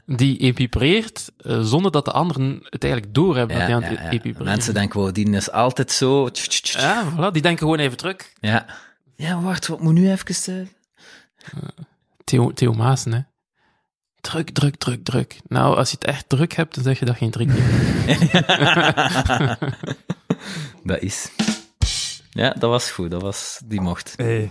die epibreert eh, zonder dat de anderen het eigenlijk doorhebben Ja, dat ja, hij aan ja. het epibreert. Mensen denken, wow, die is altijd zo... tch, tch, tch. Ja, voilà, die denken gewoon even terug. Ja. Ja, wacht, wat moet nu even... eh, Theo, Theo Maassen, hè. Druk, druk, druk, druk. Nou, als je het echt druk hebt, dan zeg je dat geen drie keer. Dat is... Ja, dat was goed, dat was... Die mocht. Hey.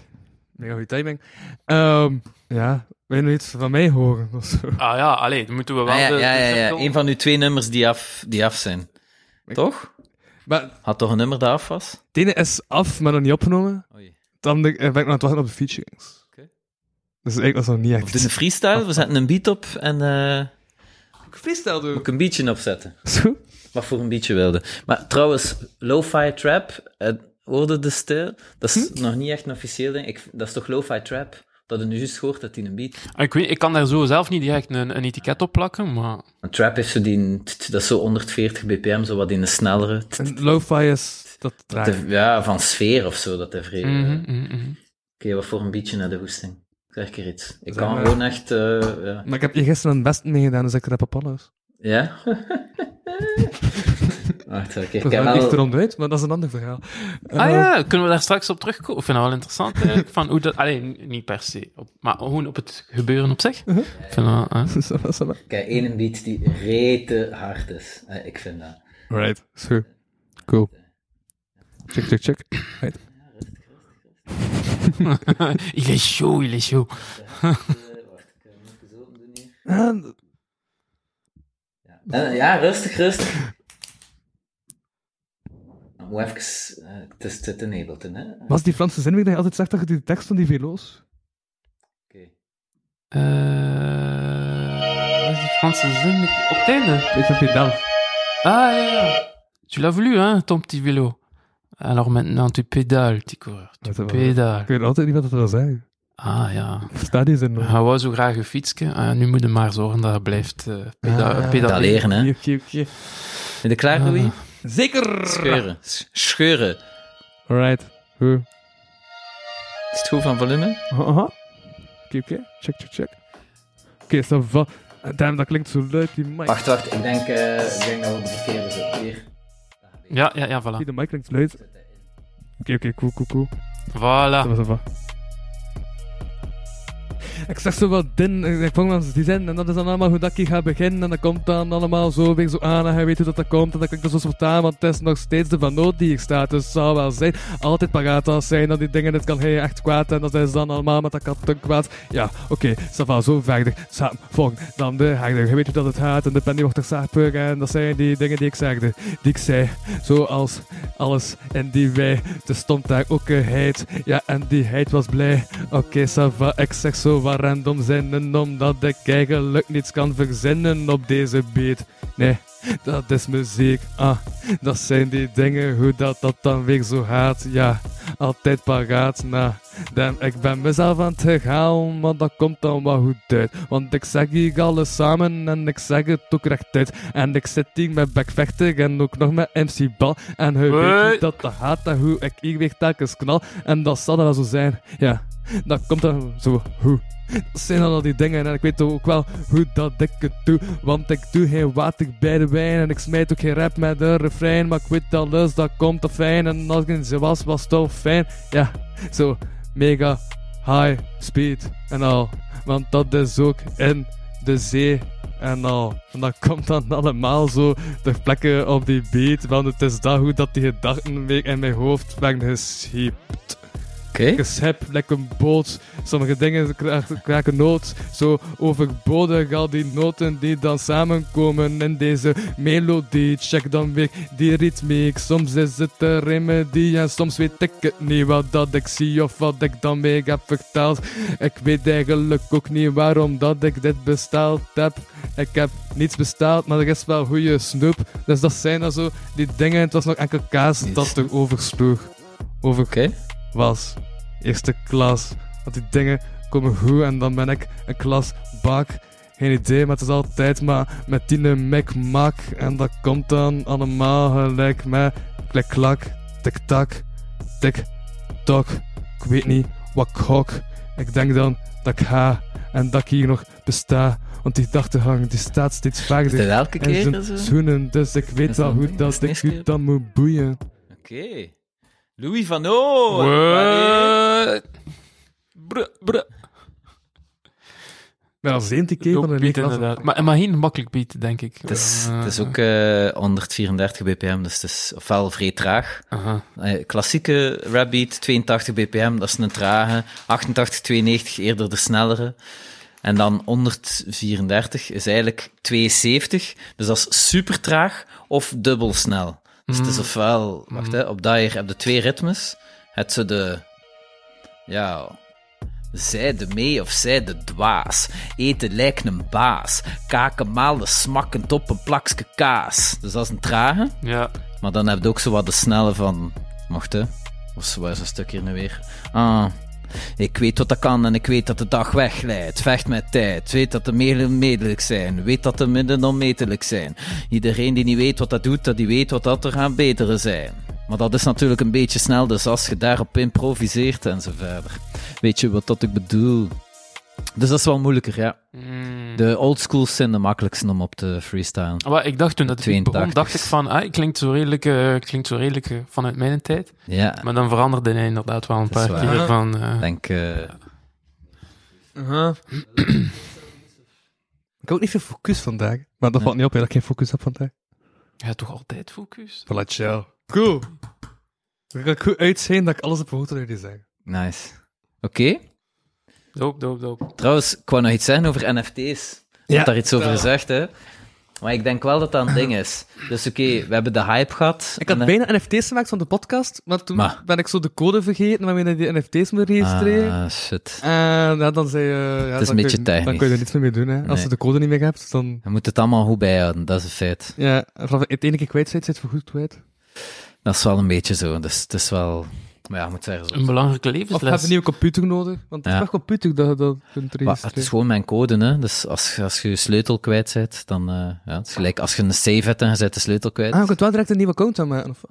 Mega goede timing. Ehm, ja, wil je nog iets van mij horen? Of zo? Ah ja, allee, dan moeten we dus wel... Ah, ja, de- ja, de ja, ja. cirkel- Een van uw twee nummers die af, die af zijn. Toch? Maar het Had toch een nummer dat af was? ene is af, maar nog niet opgenomen. Oei. Dan ben ik eh, ben ik nog aan het wachten op de featurings. Oké. Dus eigenlijk was dat nog niet Of echt. doen een freestyle, we zetten een beat op en... eh freestyle doen. ook een beatje opzetten. Zo? Wat voor een beatje wilde. Maar trouwens, lo-fi trap, eh, hoorde de stil? Dat is nog niet echt een officieel ding. Ik, dat is toch lo-fi trap? Dat je nu juist hoort dat die een beat... Ah, Ik, weet, ik kan daar zo zelf niet direct een, een etiket op plakken, maar... Een trap heeft zo die, dat is zo 140 bpm, zo wat in de snellere. En lo-fi is dat traag. Te- ja, van sfeer of zo, dat hij vrij. Mhm, Oké, mhm, mhm. wat voor een beetje naar de hoesting. Zeg ik er iets. Ik Zeg kan maar. gewoon echt, eh, ja. Maar ik heb hier gisteren mijn best mee gedaan, dus ik rap op alles. Ja? Wacht, oké. Ik Ik heb ben wel... echt ronduit, maar Dus dat is een ander verhaal. Ah Eh, ja, kunnen we daar straks op terugkomen? Ik vind dat wel interessant eigenlijk, van hoe dat... Alleen, niet per se, op, maar gewoon op het gebeuren op zich. Ik vind dat... eh. ça va, ça va. Ik heb één beat die rete hard is. Eh, ik vind dat. Right, sure. Cool. Check, check, check. Right. il est chaud, il est chaud. Ah, Eh, ja, rustig, rustig. Moet even... eh, het is het enabled, hè? Oké. was die Franse zin weer dat je altijd zegt dat je die tekst van die velo's... Eh, wat is die Franse zin? Ik- Op het einde. Ik heb je dan. Ah ja, ja. Tu l'as voulu, hein, ton petit vélo. Alors maintenant, tu pédales, petit coureur. Tu Dat is wel- pédales. Ik weet altijd niet wat dat wil zeggen. Ah ja. Ik versta die zin nog. Hij wou zo graag een fietsje. Ah, nu moet je maar zorgen dat hij blijft eh peda Ah, Dat pedaleren. leren, hè? Ben Oké, oké. je er klaar, Louis? Zeker! Scheuren. Sch- Scheuren. Alright. Goed. Is het goed van volume? Aha, Aha. Oké, oké. Check, check, check. Oké, ça va. Damn, dat klinkt zo luid, die mic. Wacht, wacht. Ik denk, eh, ik denk dat we de verkeerde zitten. Hier. Ja, ja, ja, voilà. Die de mic klinkt luid. Oké, oké, cool, cool, cool. Voilà. Dat was va. Ik zag zo wat din, en ik vond wel die zin, en dat is dan allemaal hoe dat ik ga beginnen, en dat komt dan allemaal zo weer zo aan, en hij weet hoe dat dat komt, en dat klinkt dan zo spontaan, want het is nog steeds de van nood die ik sta, dus het zou wel zijn, altijd paraat als zijn, dat die dingen, het kan heel echt kwaad, en dat is dan allemaal met dat katten kwaad. Ja, oké, ça va, zo verder, samen, volgende, dan de herder, je weet hoe dat het gaat, en de penny wordt er saper, en dat zijn die dingen die ik zegde, die ik zei, zoals alles, en die wij, er stond daar ook een heid, ja, en die heid was blij, Oké, Sava, ik zeg zo wat random zinnen, omdat ik eigenlijk niets kan verzinnen op deze beat. Nee, dat is muziek, ah, dat zijn die dingen, hoe dat dat dan weer zo gaat. Ja, altijd paraat, na. Damn, ik ben mezelf aan het herhalen, maar dat komt dan wel goed uit. Want ik zeg hier alles samen en ik zeg het ook rechtuit. En ik zit hier met Backvechter en ook nog met MC Bal. En hij weet Hoi. niet dat de haat en hoe ik hier weer telkens knal. En dat zal dan wel zo zijn, ja. Dat komt dan zo, hoe. Dat zijn dan al die dingen en ik weet ook wel hoe dat ik het doe. Want ik doe geen water bij de wijn en ik smijt ook geen rap met een refrein. Maar ik weet alles, dat komt te fijn. En als ik niet zo was, was het toch fijn. Ja, zo mega high speed en al. Want dat is ook in de zee en al. En dat komt dan allemaal zo ter plekke op die beat. Want het is dat hoe dat die gedachten weer in mijn hoofd werden geschiept. Oké. Geschep, lekker een boot. Sommige dingen kraak- kraken nood. Zo overbodig al die noten die dan samenkomen in deze melodie. Check dan weer die ritmiek. Soms is het een remedie en soms weet ik het niet wat dat ik zie of wat ik dan weer heb vertaald. Ik weet eigenlijk ook niet waarom dat ik dit besteld heb. Ik heb niets besteld, maar er is wel goede snoep. Dus dat zijn dan zo die dingen. Het was nog enkel kaas dat er oversloeg. Over Oké. was eerste klas. Want die dingen komen goed en dan ben ik een klas bak. Geen idee, maar het is altijd maar met Tine Mac Mac. En dat komt dan allemaal gelijk met klik klak, tik tak, tik tok. Ik weet niet wat ik hok. Ik denk dan dat ik ga en dat ik hier nog besta. Want die gedachtegang die staat steeds Is dit vaker elke in keer zijn zo? schoenen. Dus ik weet Is wel dat hoe niet? Is dat het ik niet u dan moet boeien. Oké. Louis van O. What? Bruh, bruh. Met al 17 keer van Ook een beat, leeg glas. inderdaad. Maar, maar geen makkelijk beat, denk ik. Het is, Eh, het is ook eh, 134 bpm, dus het is ofwel vrij traag. aha. Eh, klassieke rapbeat, 82 bpm, dat is een trage. 88, 92, eerder de snellere. En dan 134 is eigenlijk 72, dus dat is super traag of dubbel snel. Dus Mm. het is ofwel, wacht hè, op dat hier heb je twee ritmes. Het ze de, ja, zij de mee of zij de dwaas. Eten lijkt een baas. Kaken malen smakkend op een plakske kaas. Dus dat is een trage. Ja. Maar dan heb je ook zo wat de snelle van... Mocht, hè? Of zo waar is een stuk hier nu weer. Ah... Ik weet wat dat kan en ik weet dat de dag wegleidt. Vecht met tijd. Weet dat de middelen medelijk zijn. Weet dat de middelen onmetelijk zijn. Iedereen die niet weet wat dat doet, dat die weet wat dat er gaan beteren zijn. Maar dat is natuurlijk een beetje snel, dus als je daarop improviseert en zo verder. Weet je wat dat ik bedoel? Dus dat is wel moeilijker, ja. Mm. De oldschool's zijn de makkelijkste om op te freestylen. Maar ik dacht toen dat ik 82. begon, dacht ik van, ah, klinkt zo redelijk, eh, klinkt zo redelijk eh, vanuit mijn tijd. Ja, Maar dan veranderde hij inderdaad wel een Dat is paar waar. keer van... eh, denk... eh, Ik heb ook niet veel focus vandaag. Maar dat valt niet op, hè, dat ik geen focus heb vandaag. ja, toch altijd focus? Voilà, ciao. Cool. Dan kan ik goed uitzien dat ik alles heb gehoord wat jullie zeggen. Nice. Oké. Doop, doop, doop. Trouwens, ik wou nog iets zeggen over NFT's. Je Ja. hebt daar iets over gezegd, hè. Maar ik denk wel dat dat een ding is. Dus oké, we hebben de hype gehad. Ik had En- bijna NFT's gemaakt van de podcast, maar toen Maar- ben ik zo de code vergeten waarmee je die NFT's moet registreren. Ah, shit. En ja, dan zei je... ja, Het is dan een kun beetje je- Dan technisch. kun je er niets meer mee doen. Hè. Als Nee. je de code niet meer hebt, dan... Je moet het allemaal goed bijhouden, dat is een feit. Ja, vanaf het ene keer kwijt zit, zit voor goed kwijt. Dat is wel een beetje zo, dus het is wel... Maar ja, je moet zeggen zo. Een belangrijke Of heb je levensles. een nieuwe computer nodig? Want het Ja. is wel computer dat je dat kunt Maar het is registreren. gewoon mijn code, hè. Dus als, je- als je je sleutel kwijt bent, dan... eh, ja, het is gelijk als je een save hebt en je zet de sleutel kwijt, Ah, je kunt wel direct een nieuwe account aanmaken. Of...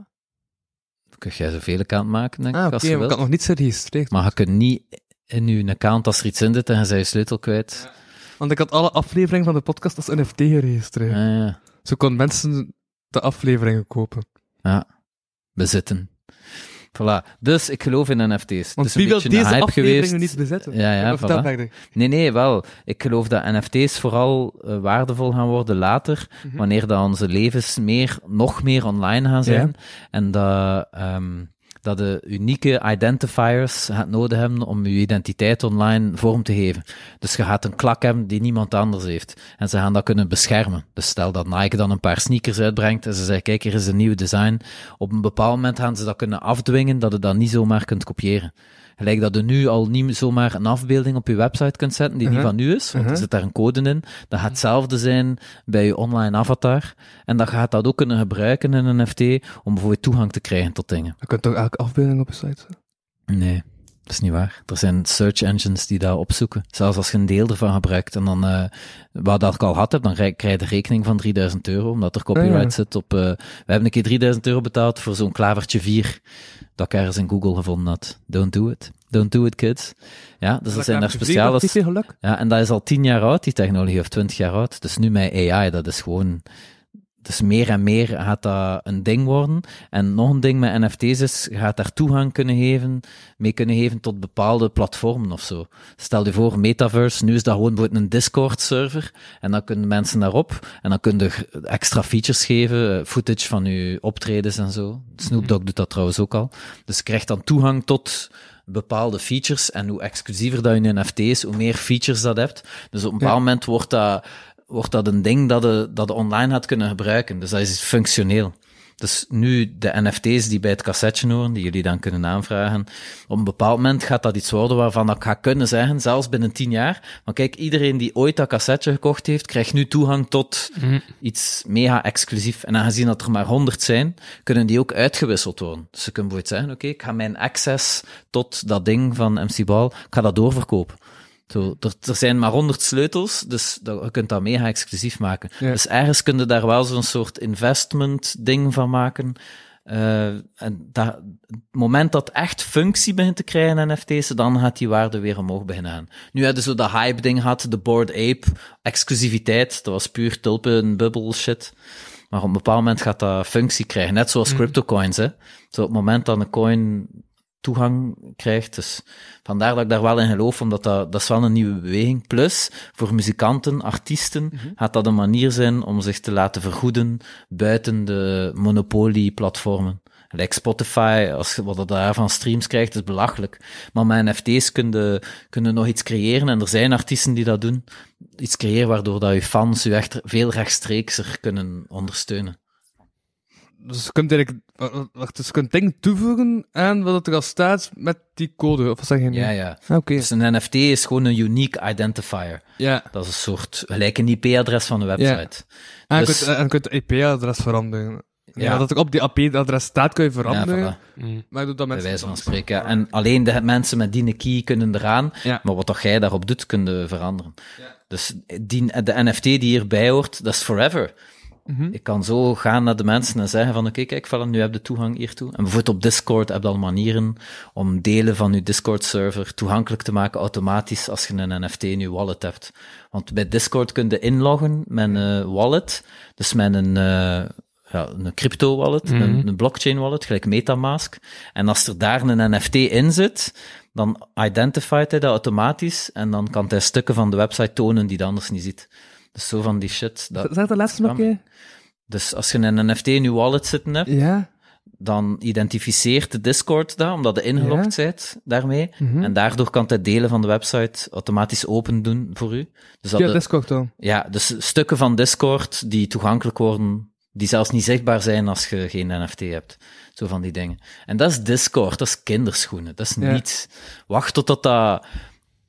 dan kun jij zoveel account maken, denk ik, Ah, oké, als je maar ik wilt. had nog niet geregistreerd. Maar je kunt niet in je account, als er iets in zit en je zet je sleutel kwijt... Want ik had alle afleveringen van de podcast als NFT geregistreerd. Ah, ja. Zo kon mensen de afleveringen kopen. bezitten. Voilà. Dus ik geloof in NFT's. Want het is een wie wil beetje een deze hype aflevering geweest. nu niet bezetten? Ja, ja, Maar vertel voilà. verder. Nee, nee, wel. Ik geloof dat NFT's vooral eh, waardevol gaan worden later, wanneer dat onze levens meer, nog meer online gaan zijn. En dat, ehm, dat de unieke identifiers gaat nodig hebben om je identiteit online vorm te geven. Dus je gaat een klak hebben die niemand anders heeft. En ze gaan dat kunnen beschermen. Dus stel dat Nike dan een paar sneakers uitbrengt en ze zeggen, kijk, hier is een nieuw design. Op een bepaald moment gaan ze dat kunnen afdwingen, dat je dat niet zomaar kunt kopiëren. Gelijk dat je nu al niet zomaar een afbeelding op je website kunt zetten die Uh-huh. niet van u is, want er zit daar een code in. Dat gaat hetzelfde zijn bij je online avatar. En dat gaat dat ook kunnen gebruiken in een NFT om bijvoorbeeld toegang te krijgen tot dingen. Je kunt toch elke afbeelding op je site zetten? Nee, dat is niet waar. Er zijn search engines die dat opzoeken. Zelfs als je een deel ervan gebruikt en dan, eh, wat dat ik al had heb, dan krijg krijg je de rekening van 3000 euro, omdat er copyright Ah, ja. zit op... eh, we hebben een keer 3000 euro betaald voor zo'n klavertje 4, dat ik ergens in Google gevonden had. Don't do it. Don't do it, kids. Ja, dus dat zijn daar speciale... Is geluk? Ja, en dat is al tien jaar oud, die technologie, of twintig jaar oud. Dus nu met AI, dat is gewoon... Dus meer en meer gaat dat een ding worden. En nog een ding met NFT's is, je gaat daar toegang kunnen geven, mee kunnen geven tot bepaalde platformen of zo. Stel je voor, Metaverse, nu is dat gewoon bijvoorbeeld een Discord-server. En dan kunnen mensen daarop. En dan kun je g- extra features geven, eh, footage van je optredens en zo. Snoop Dogg doet dat trouwens ook al. Dus je krijgt dan toegang tot bepaalde features. En hoe exclusiever dat je een NFT is, hoe meer features dat hebt. Dus op een bepaald moment wordt dat, wordt dat een ding dat je, dat je online gaat kunnen gebruiken. Dus dat is functioneel. Dus nu de NFT's die bij het cassetje horen, die jullie dan kunnen aanvragen, op een bepaald moment gaat dat iets worden waarvan ik ga kunnen zeggen, zelfs binnen tien jaar, want kijk, iedereen die ooit dat cassetje gekocht heeft, krijgt nu toegang tot iets mega exclusief. En aangezien dat er maar honderd zijn, kunnen die ook uitgewisseld worden. Dus ze kunnen bijvoorbeeld zeggen, oké, ik ga mijn access tot dat ding van MC Ball, ik ga dat doorverkopen. Zo, er, er zijn maar 100 sleutels, dus dat, je kunt dat mega exclusief maken. Ja. Dus ergens kun je daar wel zo'n soort investment ding van maken. Eh, en dat, het moment dat echt functie begint te krijgen in NFT's, dan gaat die waarde weer omhoog beginnen gaan. Nu hadden ze dat hype ding gehad, de Bored Ape, exclusiviteit, dat was puur tulpen, bubble shit. Maar op een bepaald moment gaat dat functie krijgen, net zoals cryptocoins. Hè. Zo, op het moment dat een coin toegang krijgt. Dus vandaar dat ik daar wel in geloof, omdat dat, dat is wel een nieuwe beweging. Plus, voor muzikanten, artiesten, gaat dat een manier zijn om zich te laten vergoeden buiten de monopolieplatformen. Like Spotify, als je wat je daar van streams krijgt, is belachelijk. Maar met NFT's kunnen kunnen nog iets creëren en er zijn artiesten die dat doen. Iets creëren waardoor dat je fans je echt veel rechtstreekser kunnen ondersteunen. Dus je kunt eigenlijk... wa- Wacht, dus je kunt dingen toevoegen aan wat er al staat met die code, of wat zeg je nu? Ja, ja. Ah, Oké. Dus een NFT is gewoon een unique identifier. Ja. Dat is een soort, gelijk een IP-adres van een website. En je Dus- kunt- en je kunt het IP-adres veranderen. Ja. Ja. Dat er op die IP-adres staat, kun je Ja, veranderen. voilà, Maar doet dat bij mensen... wijze van spreken. ja. En alleen de mensen met die key kunnen eraan, Ja. maar wat dat jij daarop doet, kun je veranderen. Dus die, de NFT die hierbij hoort, dat is forever. Ik kan zo gaan naar de mensen en zeggen van, oké, kijk, voilà, nu heb je toegang hiertoe. En bijvoorbeeld op Discord heb je al manieren om delen van je Discord-server toegankelijk te maken automatisch als je een NFT in je wallet hebt. Want bij Discord kun je inloggen met een wallet, dus met een... eh, ja, een crypto wallet, een, een blockchain wallet, gelijk Metamask. En als er daar een NFT in zit, dan identified hij dat automatisch en dan kan hij stukken van de website tonen die hij anders niet ziet. Dus zo van die shit. Dat, Zeg de laatste nog een keer. dus als je een NFT in je wallet zitten hebt, Ja. dan identificeert de Discord dat, omdat je ingelogd bent daarmee. En daardoor kan hij delen van de website automatisch open doen voor u. Dus dat Via de- Discord dan. ja, dus stukken van Discord die toegankelijk worden, die zelfs niet zichtbaar zijn als je geen NFT hebt. Zo van die dingen. En dat is Discord, dat is kinderschoenen, dat is Ja. niets. Wacht totdat dat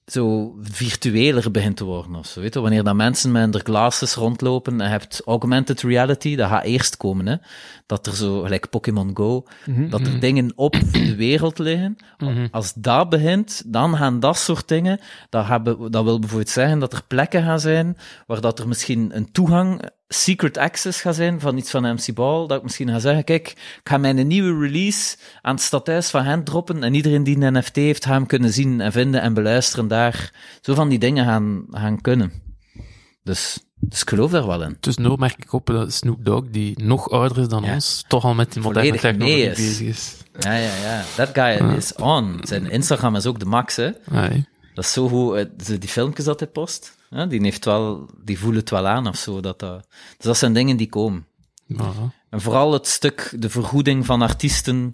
zo virtueler begint te worden of zo. Weet je? Wanneer dat mensen met hun glasses rondlopen en je hebt augmented reality, dat gaat eerst komen. Hè? Dat er zo, gelijk Pokémon Go, dat er dingen op de wereld liggen. Als dat begint, dan gaan dat soort dingen, dat, hebben, dat wil bijvoorbeeld zeggen dat er plekken gaan zijn waar dat er misschien een toegang, secret access gaat zijn van iets van MC Ball, dat ik misschien ga zeggen, kijk, ik ga mijn nieuwe release aan het stadhuis van hen droppen en iedereen die een NFT heeft, gaat hem kunnen zien en vinden en beluisteren daar. Zo van die dingen gaan, gaan kunnen. Dus, dus ik geloof daar wel in. Tussendoor merk ik op dat Snoop Dogg, die nog ouder is dan Ja. ons, toch al met die moderne Volledig mee technologie is. bezig is. Ja, ja, ja. Dat guy is on. Zijn Instagram is ook de max, hè. Allee. Dat is zo hoe eh, ze die filmpjes dat hij post. Ja, die, heeft wel, die voelen het wel aan of zo. Dat dat... Dus dat zijn dingen die komen. Voilà. En vooral het stuk, de vergoeding van artiesten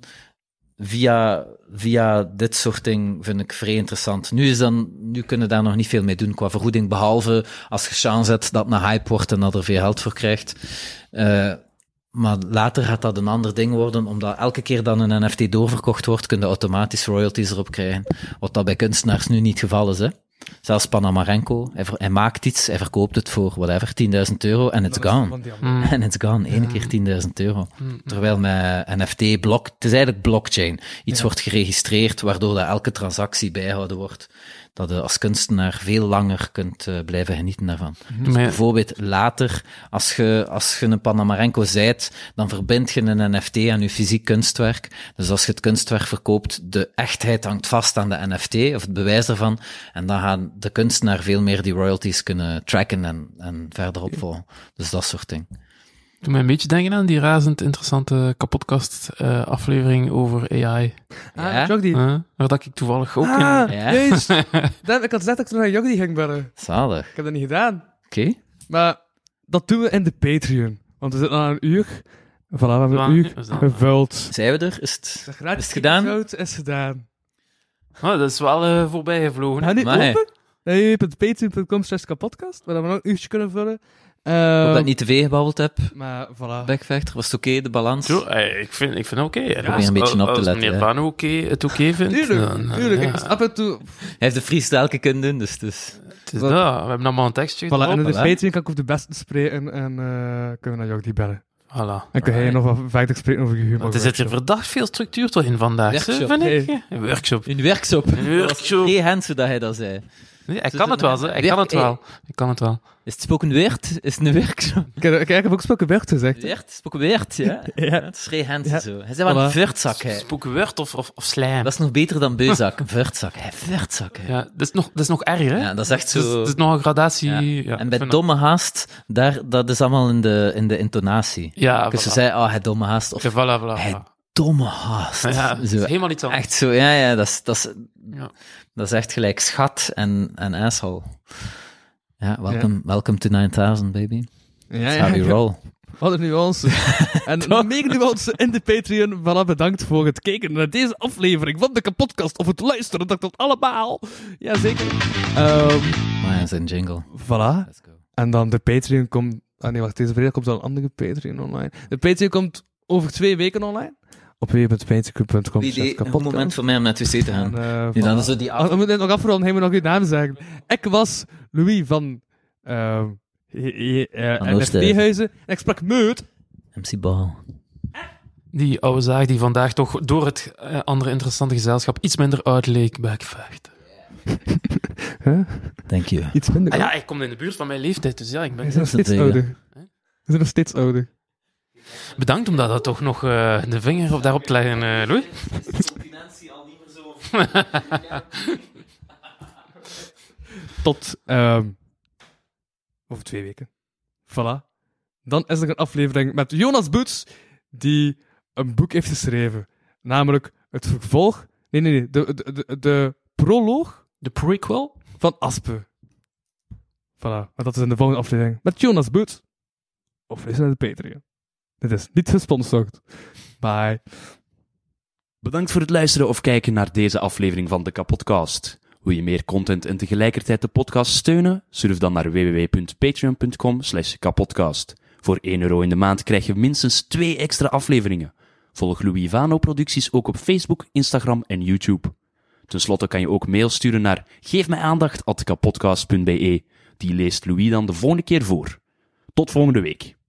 via, via dit soort ding vind ik vrij interessant. Nu, is dan, nu kunnen we daar nog niet veel mee doen qua vergoeding, behalve als je chance zet dat het een hype wordt en dat er veel geld voor krijgt. Eh, maar later gaat dat een ander ding worden, omdat elke keer dat een NFT doorverkocht wordt, kun je automatisch royalties erop krijgen. Wat dat bij kunstenaars nu niet het geval is, hè. Zelfs Panamarenko, hij, ver- hij maakt iets, hij verkoopt het voor whatever, 10.000 euro en it's gone. En it's gone, één keer 10.000 euro. Terwijl met NFT, blok, het is eigenlijk blockchain. Iets wordt geregistreerd, waardoor dat elke transactie bijgehouden wordt. Dat je als kunstenaar veel langer kunt eh, blijven genieten daarvan. Dus Maar- bijvoorbeeld later, als je, als je een Panamarenko zijt, dan verbind je een NFT aan je fysiek kunstwerk. Dus als je het kunstwerk verkoopt, de echtheid hangt vast aan de NFT, of het bewijs daarvan. En dan gaan de kunstenaar veel meer die royalties kunnen tracken en, en verder opvolgen. Dus dat soort dingen. Doe mij een beetje denken aan die razend interessante kapotkast-aflevering over AI. Ja? Ah, Jogdi. Huh? waar dat ik toevallig ook Ah, in... Ja. juist. Dan, ik had gezegd dat ik nog naar Jogdi ging bellen. Zalig. Ik heb dat niet gedaan. Oké. Maar dat doen we in de Patreon. Want we zitten al aan een uur. Voilà, we hebben Ja, een uur is dat- gevuld. Zijn we er? Is het... De gratis Is het gedaan? episode is gedaan. Ah, dat is wel eh, voorbij gevlogen. We gaan nu Maar hey. open naar www.patreon.com slash kapodcast, waar we nog een uurtje kunnen vullen. Eh, Ik hoop dat ik niet te veel gebabbeld heb. Maar voilà. Backvechter, was het oké, de balans? Zo, eh, ik vind ik vind het oké. hè. probeer een beetje Als- op te Als letten, meneer hè. Bano oké het oké vindt... dan, Tuurlijk, eh, tuurlijk. ja. Ik- Af en toe... Hij heeft de freestyle kunnen doen, dus... dus... Het is dat. We hebben allemaal een tekstje Voilà, en in de hè? Patreon kan ik op de beste spreken en eh, kunnen we naar Jordi bellen. Voilà. En kun jij nog wat verder spreken over je humor. Want er zit hier verdacht veel structuur toch in vandaag, hè, Workshop, vind ik. Een workshop. Een workshop. Een workshop. Geen hens hoe dat hij dat zei. Nee, hij Ze kan het doen wel, een- hè. Hij kan het werk- wel. Hij kan het wel. Is het spoken weird? Is het een workshop? Ik, heb- ik heb ook spoken werd gezegd. Weird? Spoken weird, ja. ja. Het is geen hens Ja. zo. Hij zei wel een Voilà. veurtzak, hè. Spookwoord of, of, of slijm. Dat is nog beter dan beuzak. Een veurtzak, hè. Veurtzak, hè. Ja. ja, dat, is nog, dat is nog erger, hè? dat is echt Het is, zo... Dus het is nog een gradatie. Ja. ja, en ik bij vind domme haast, daar, dat is allemaal in de, in de intonatie. dat- Ja, Dus ze voilà. zei, oh, hij domme haast. Of Ja, voilà, voilà. Hij- voilà. domme haast. Ja, het is Zo, helemaal iets anders. Echt zo, ja, ja, dat is, dat is, Ja. dat is echt gelijk schat en, en asshole. Ja, welcome, welcome to 9000, baby. Ja, That's how we roll. Wat een nuance. en nog meer nuance in de Patreon. Voilà, bedankt voor het kijken naar deze aflevering van de kapotkast. Of het luisteren, dat tot allemaal. Jazeker. Ehm Maar ja, zijn jingle. voilà. Let's go. En dan de Patreon komt... Ah nee, wacht. Deze vrijdag komt al een andere Patreon online. De Patreon komt over twee weken online. Op www.patreon.com. Idee, een moment voor mij om naar het wc te gaan. En, eh, Nu dan voilà. is zo die Ah, af... we moeten dit nog afronden. Hij moet nog uw naam zeggen. Ik was Louis van... ehm eh, eh, Van Oosterhuizen. NFT-huizen. En ik sprak Meut. MC Ball. Die oude zaag die vandaag toch door het eh, andere interessante gezelschap iets minder uit leek, backvaart. Thank you. Iets minder. Ah ja, ik kom in de buurt van mijn leeftijd, dus ja, ik ben... Ze zijn nog steeds tegen. ouder. Ze zijn nog steeds ouder. Bedankt om dat, dat toch nog eh, de vinger op daarop te leggen, eh Louis. Tot ehm, over twee weken. Voilà. Dan is er een aflevering met Jonas Boets, die een boek heeft geschreven. Namelijk het vervolg. Nee, nee, nee. De, de, de, de proloog De prequel? van Aspe. Voilà. Maar dat is in de volgende aflevering met Jonas Boets. Of is naar de Patreon. Dit is niet gesponsord. Bye. Bedankt voor het luisteren of kijken naar deze aflevering van de Kapodcast. Wil je meer content en tegelijkertijd de podcast steunen? Surf dan naar www.patreon.com slash kapodcast. Voor 1 euro in de maand krijg je minstens 2 extra afleveringen. Volg Louis Vano producties ook op Facebook, Instagram en YouTube. Ten slotte kan je ook mail sturen naar geefmijaandacht.kapodcast.be. Die leest Louis dan de volgende keer voor. Tot volgende week.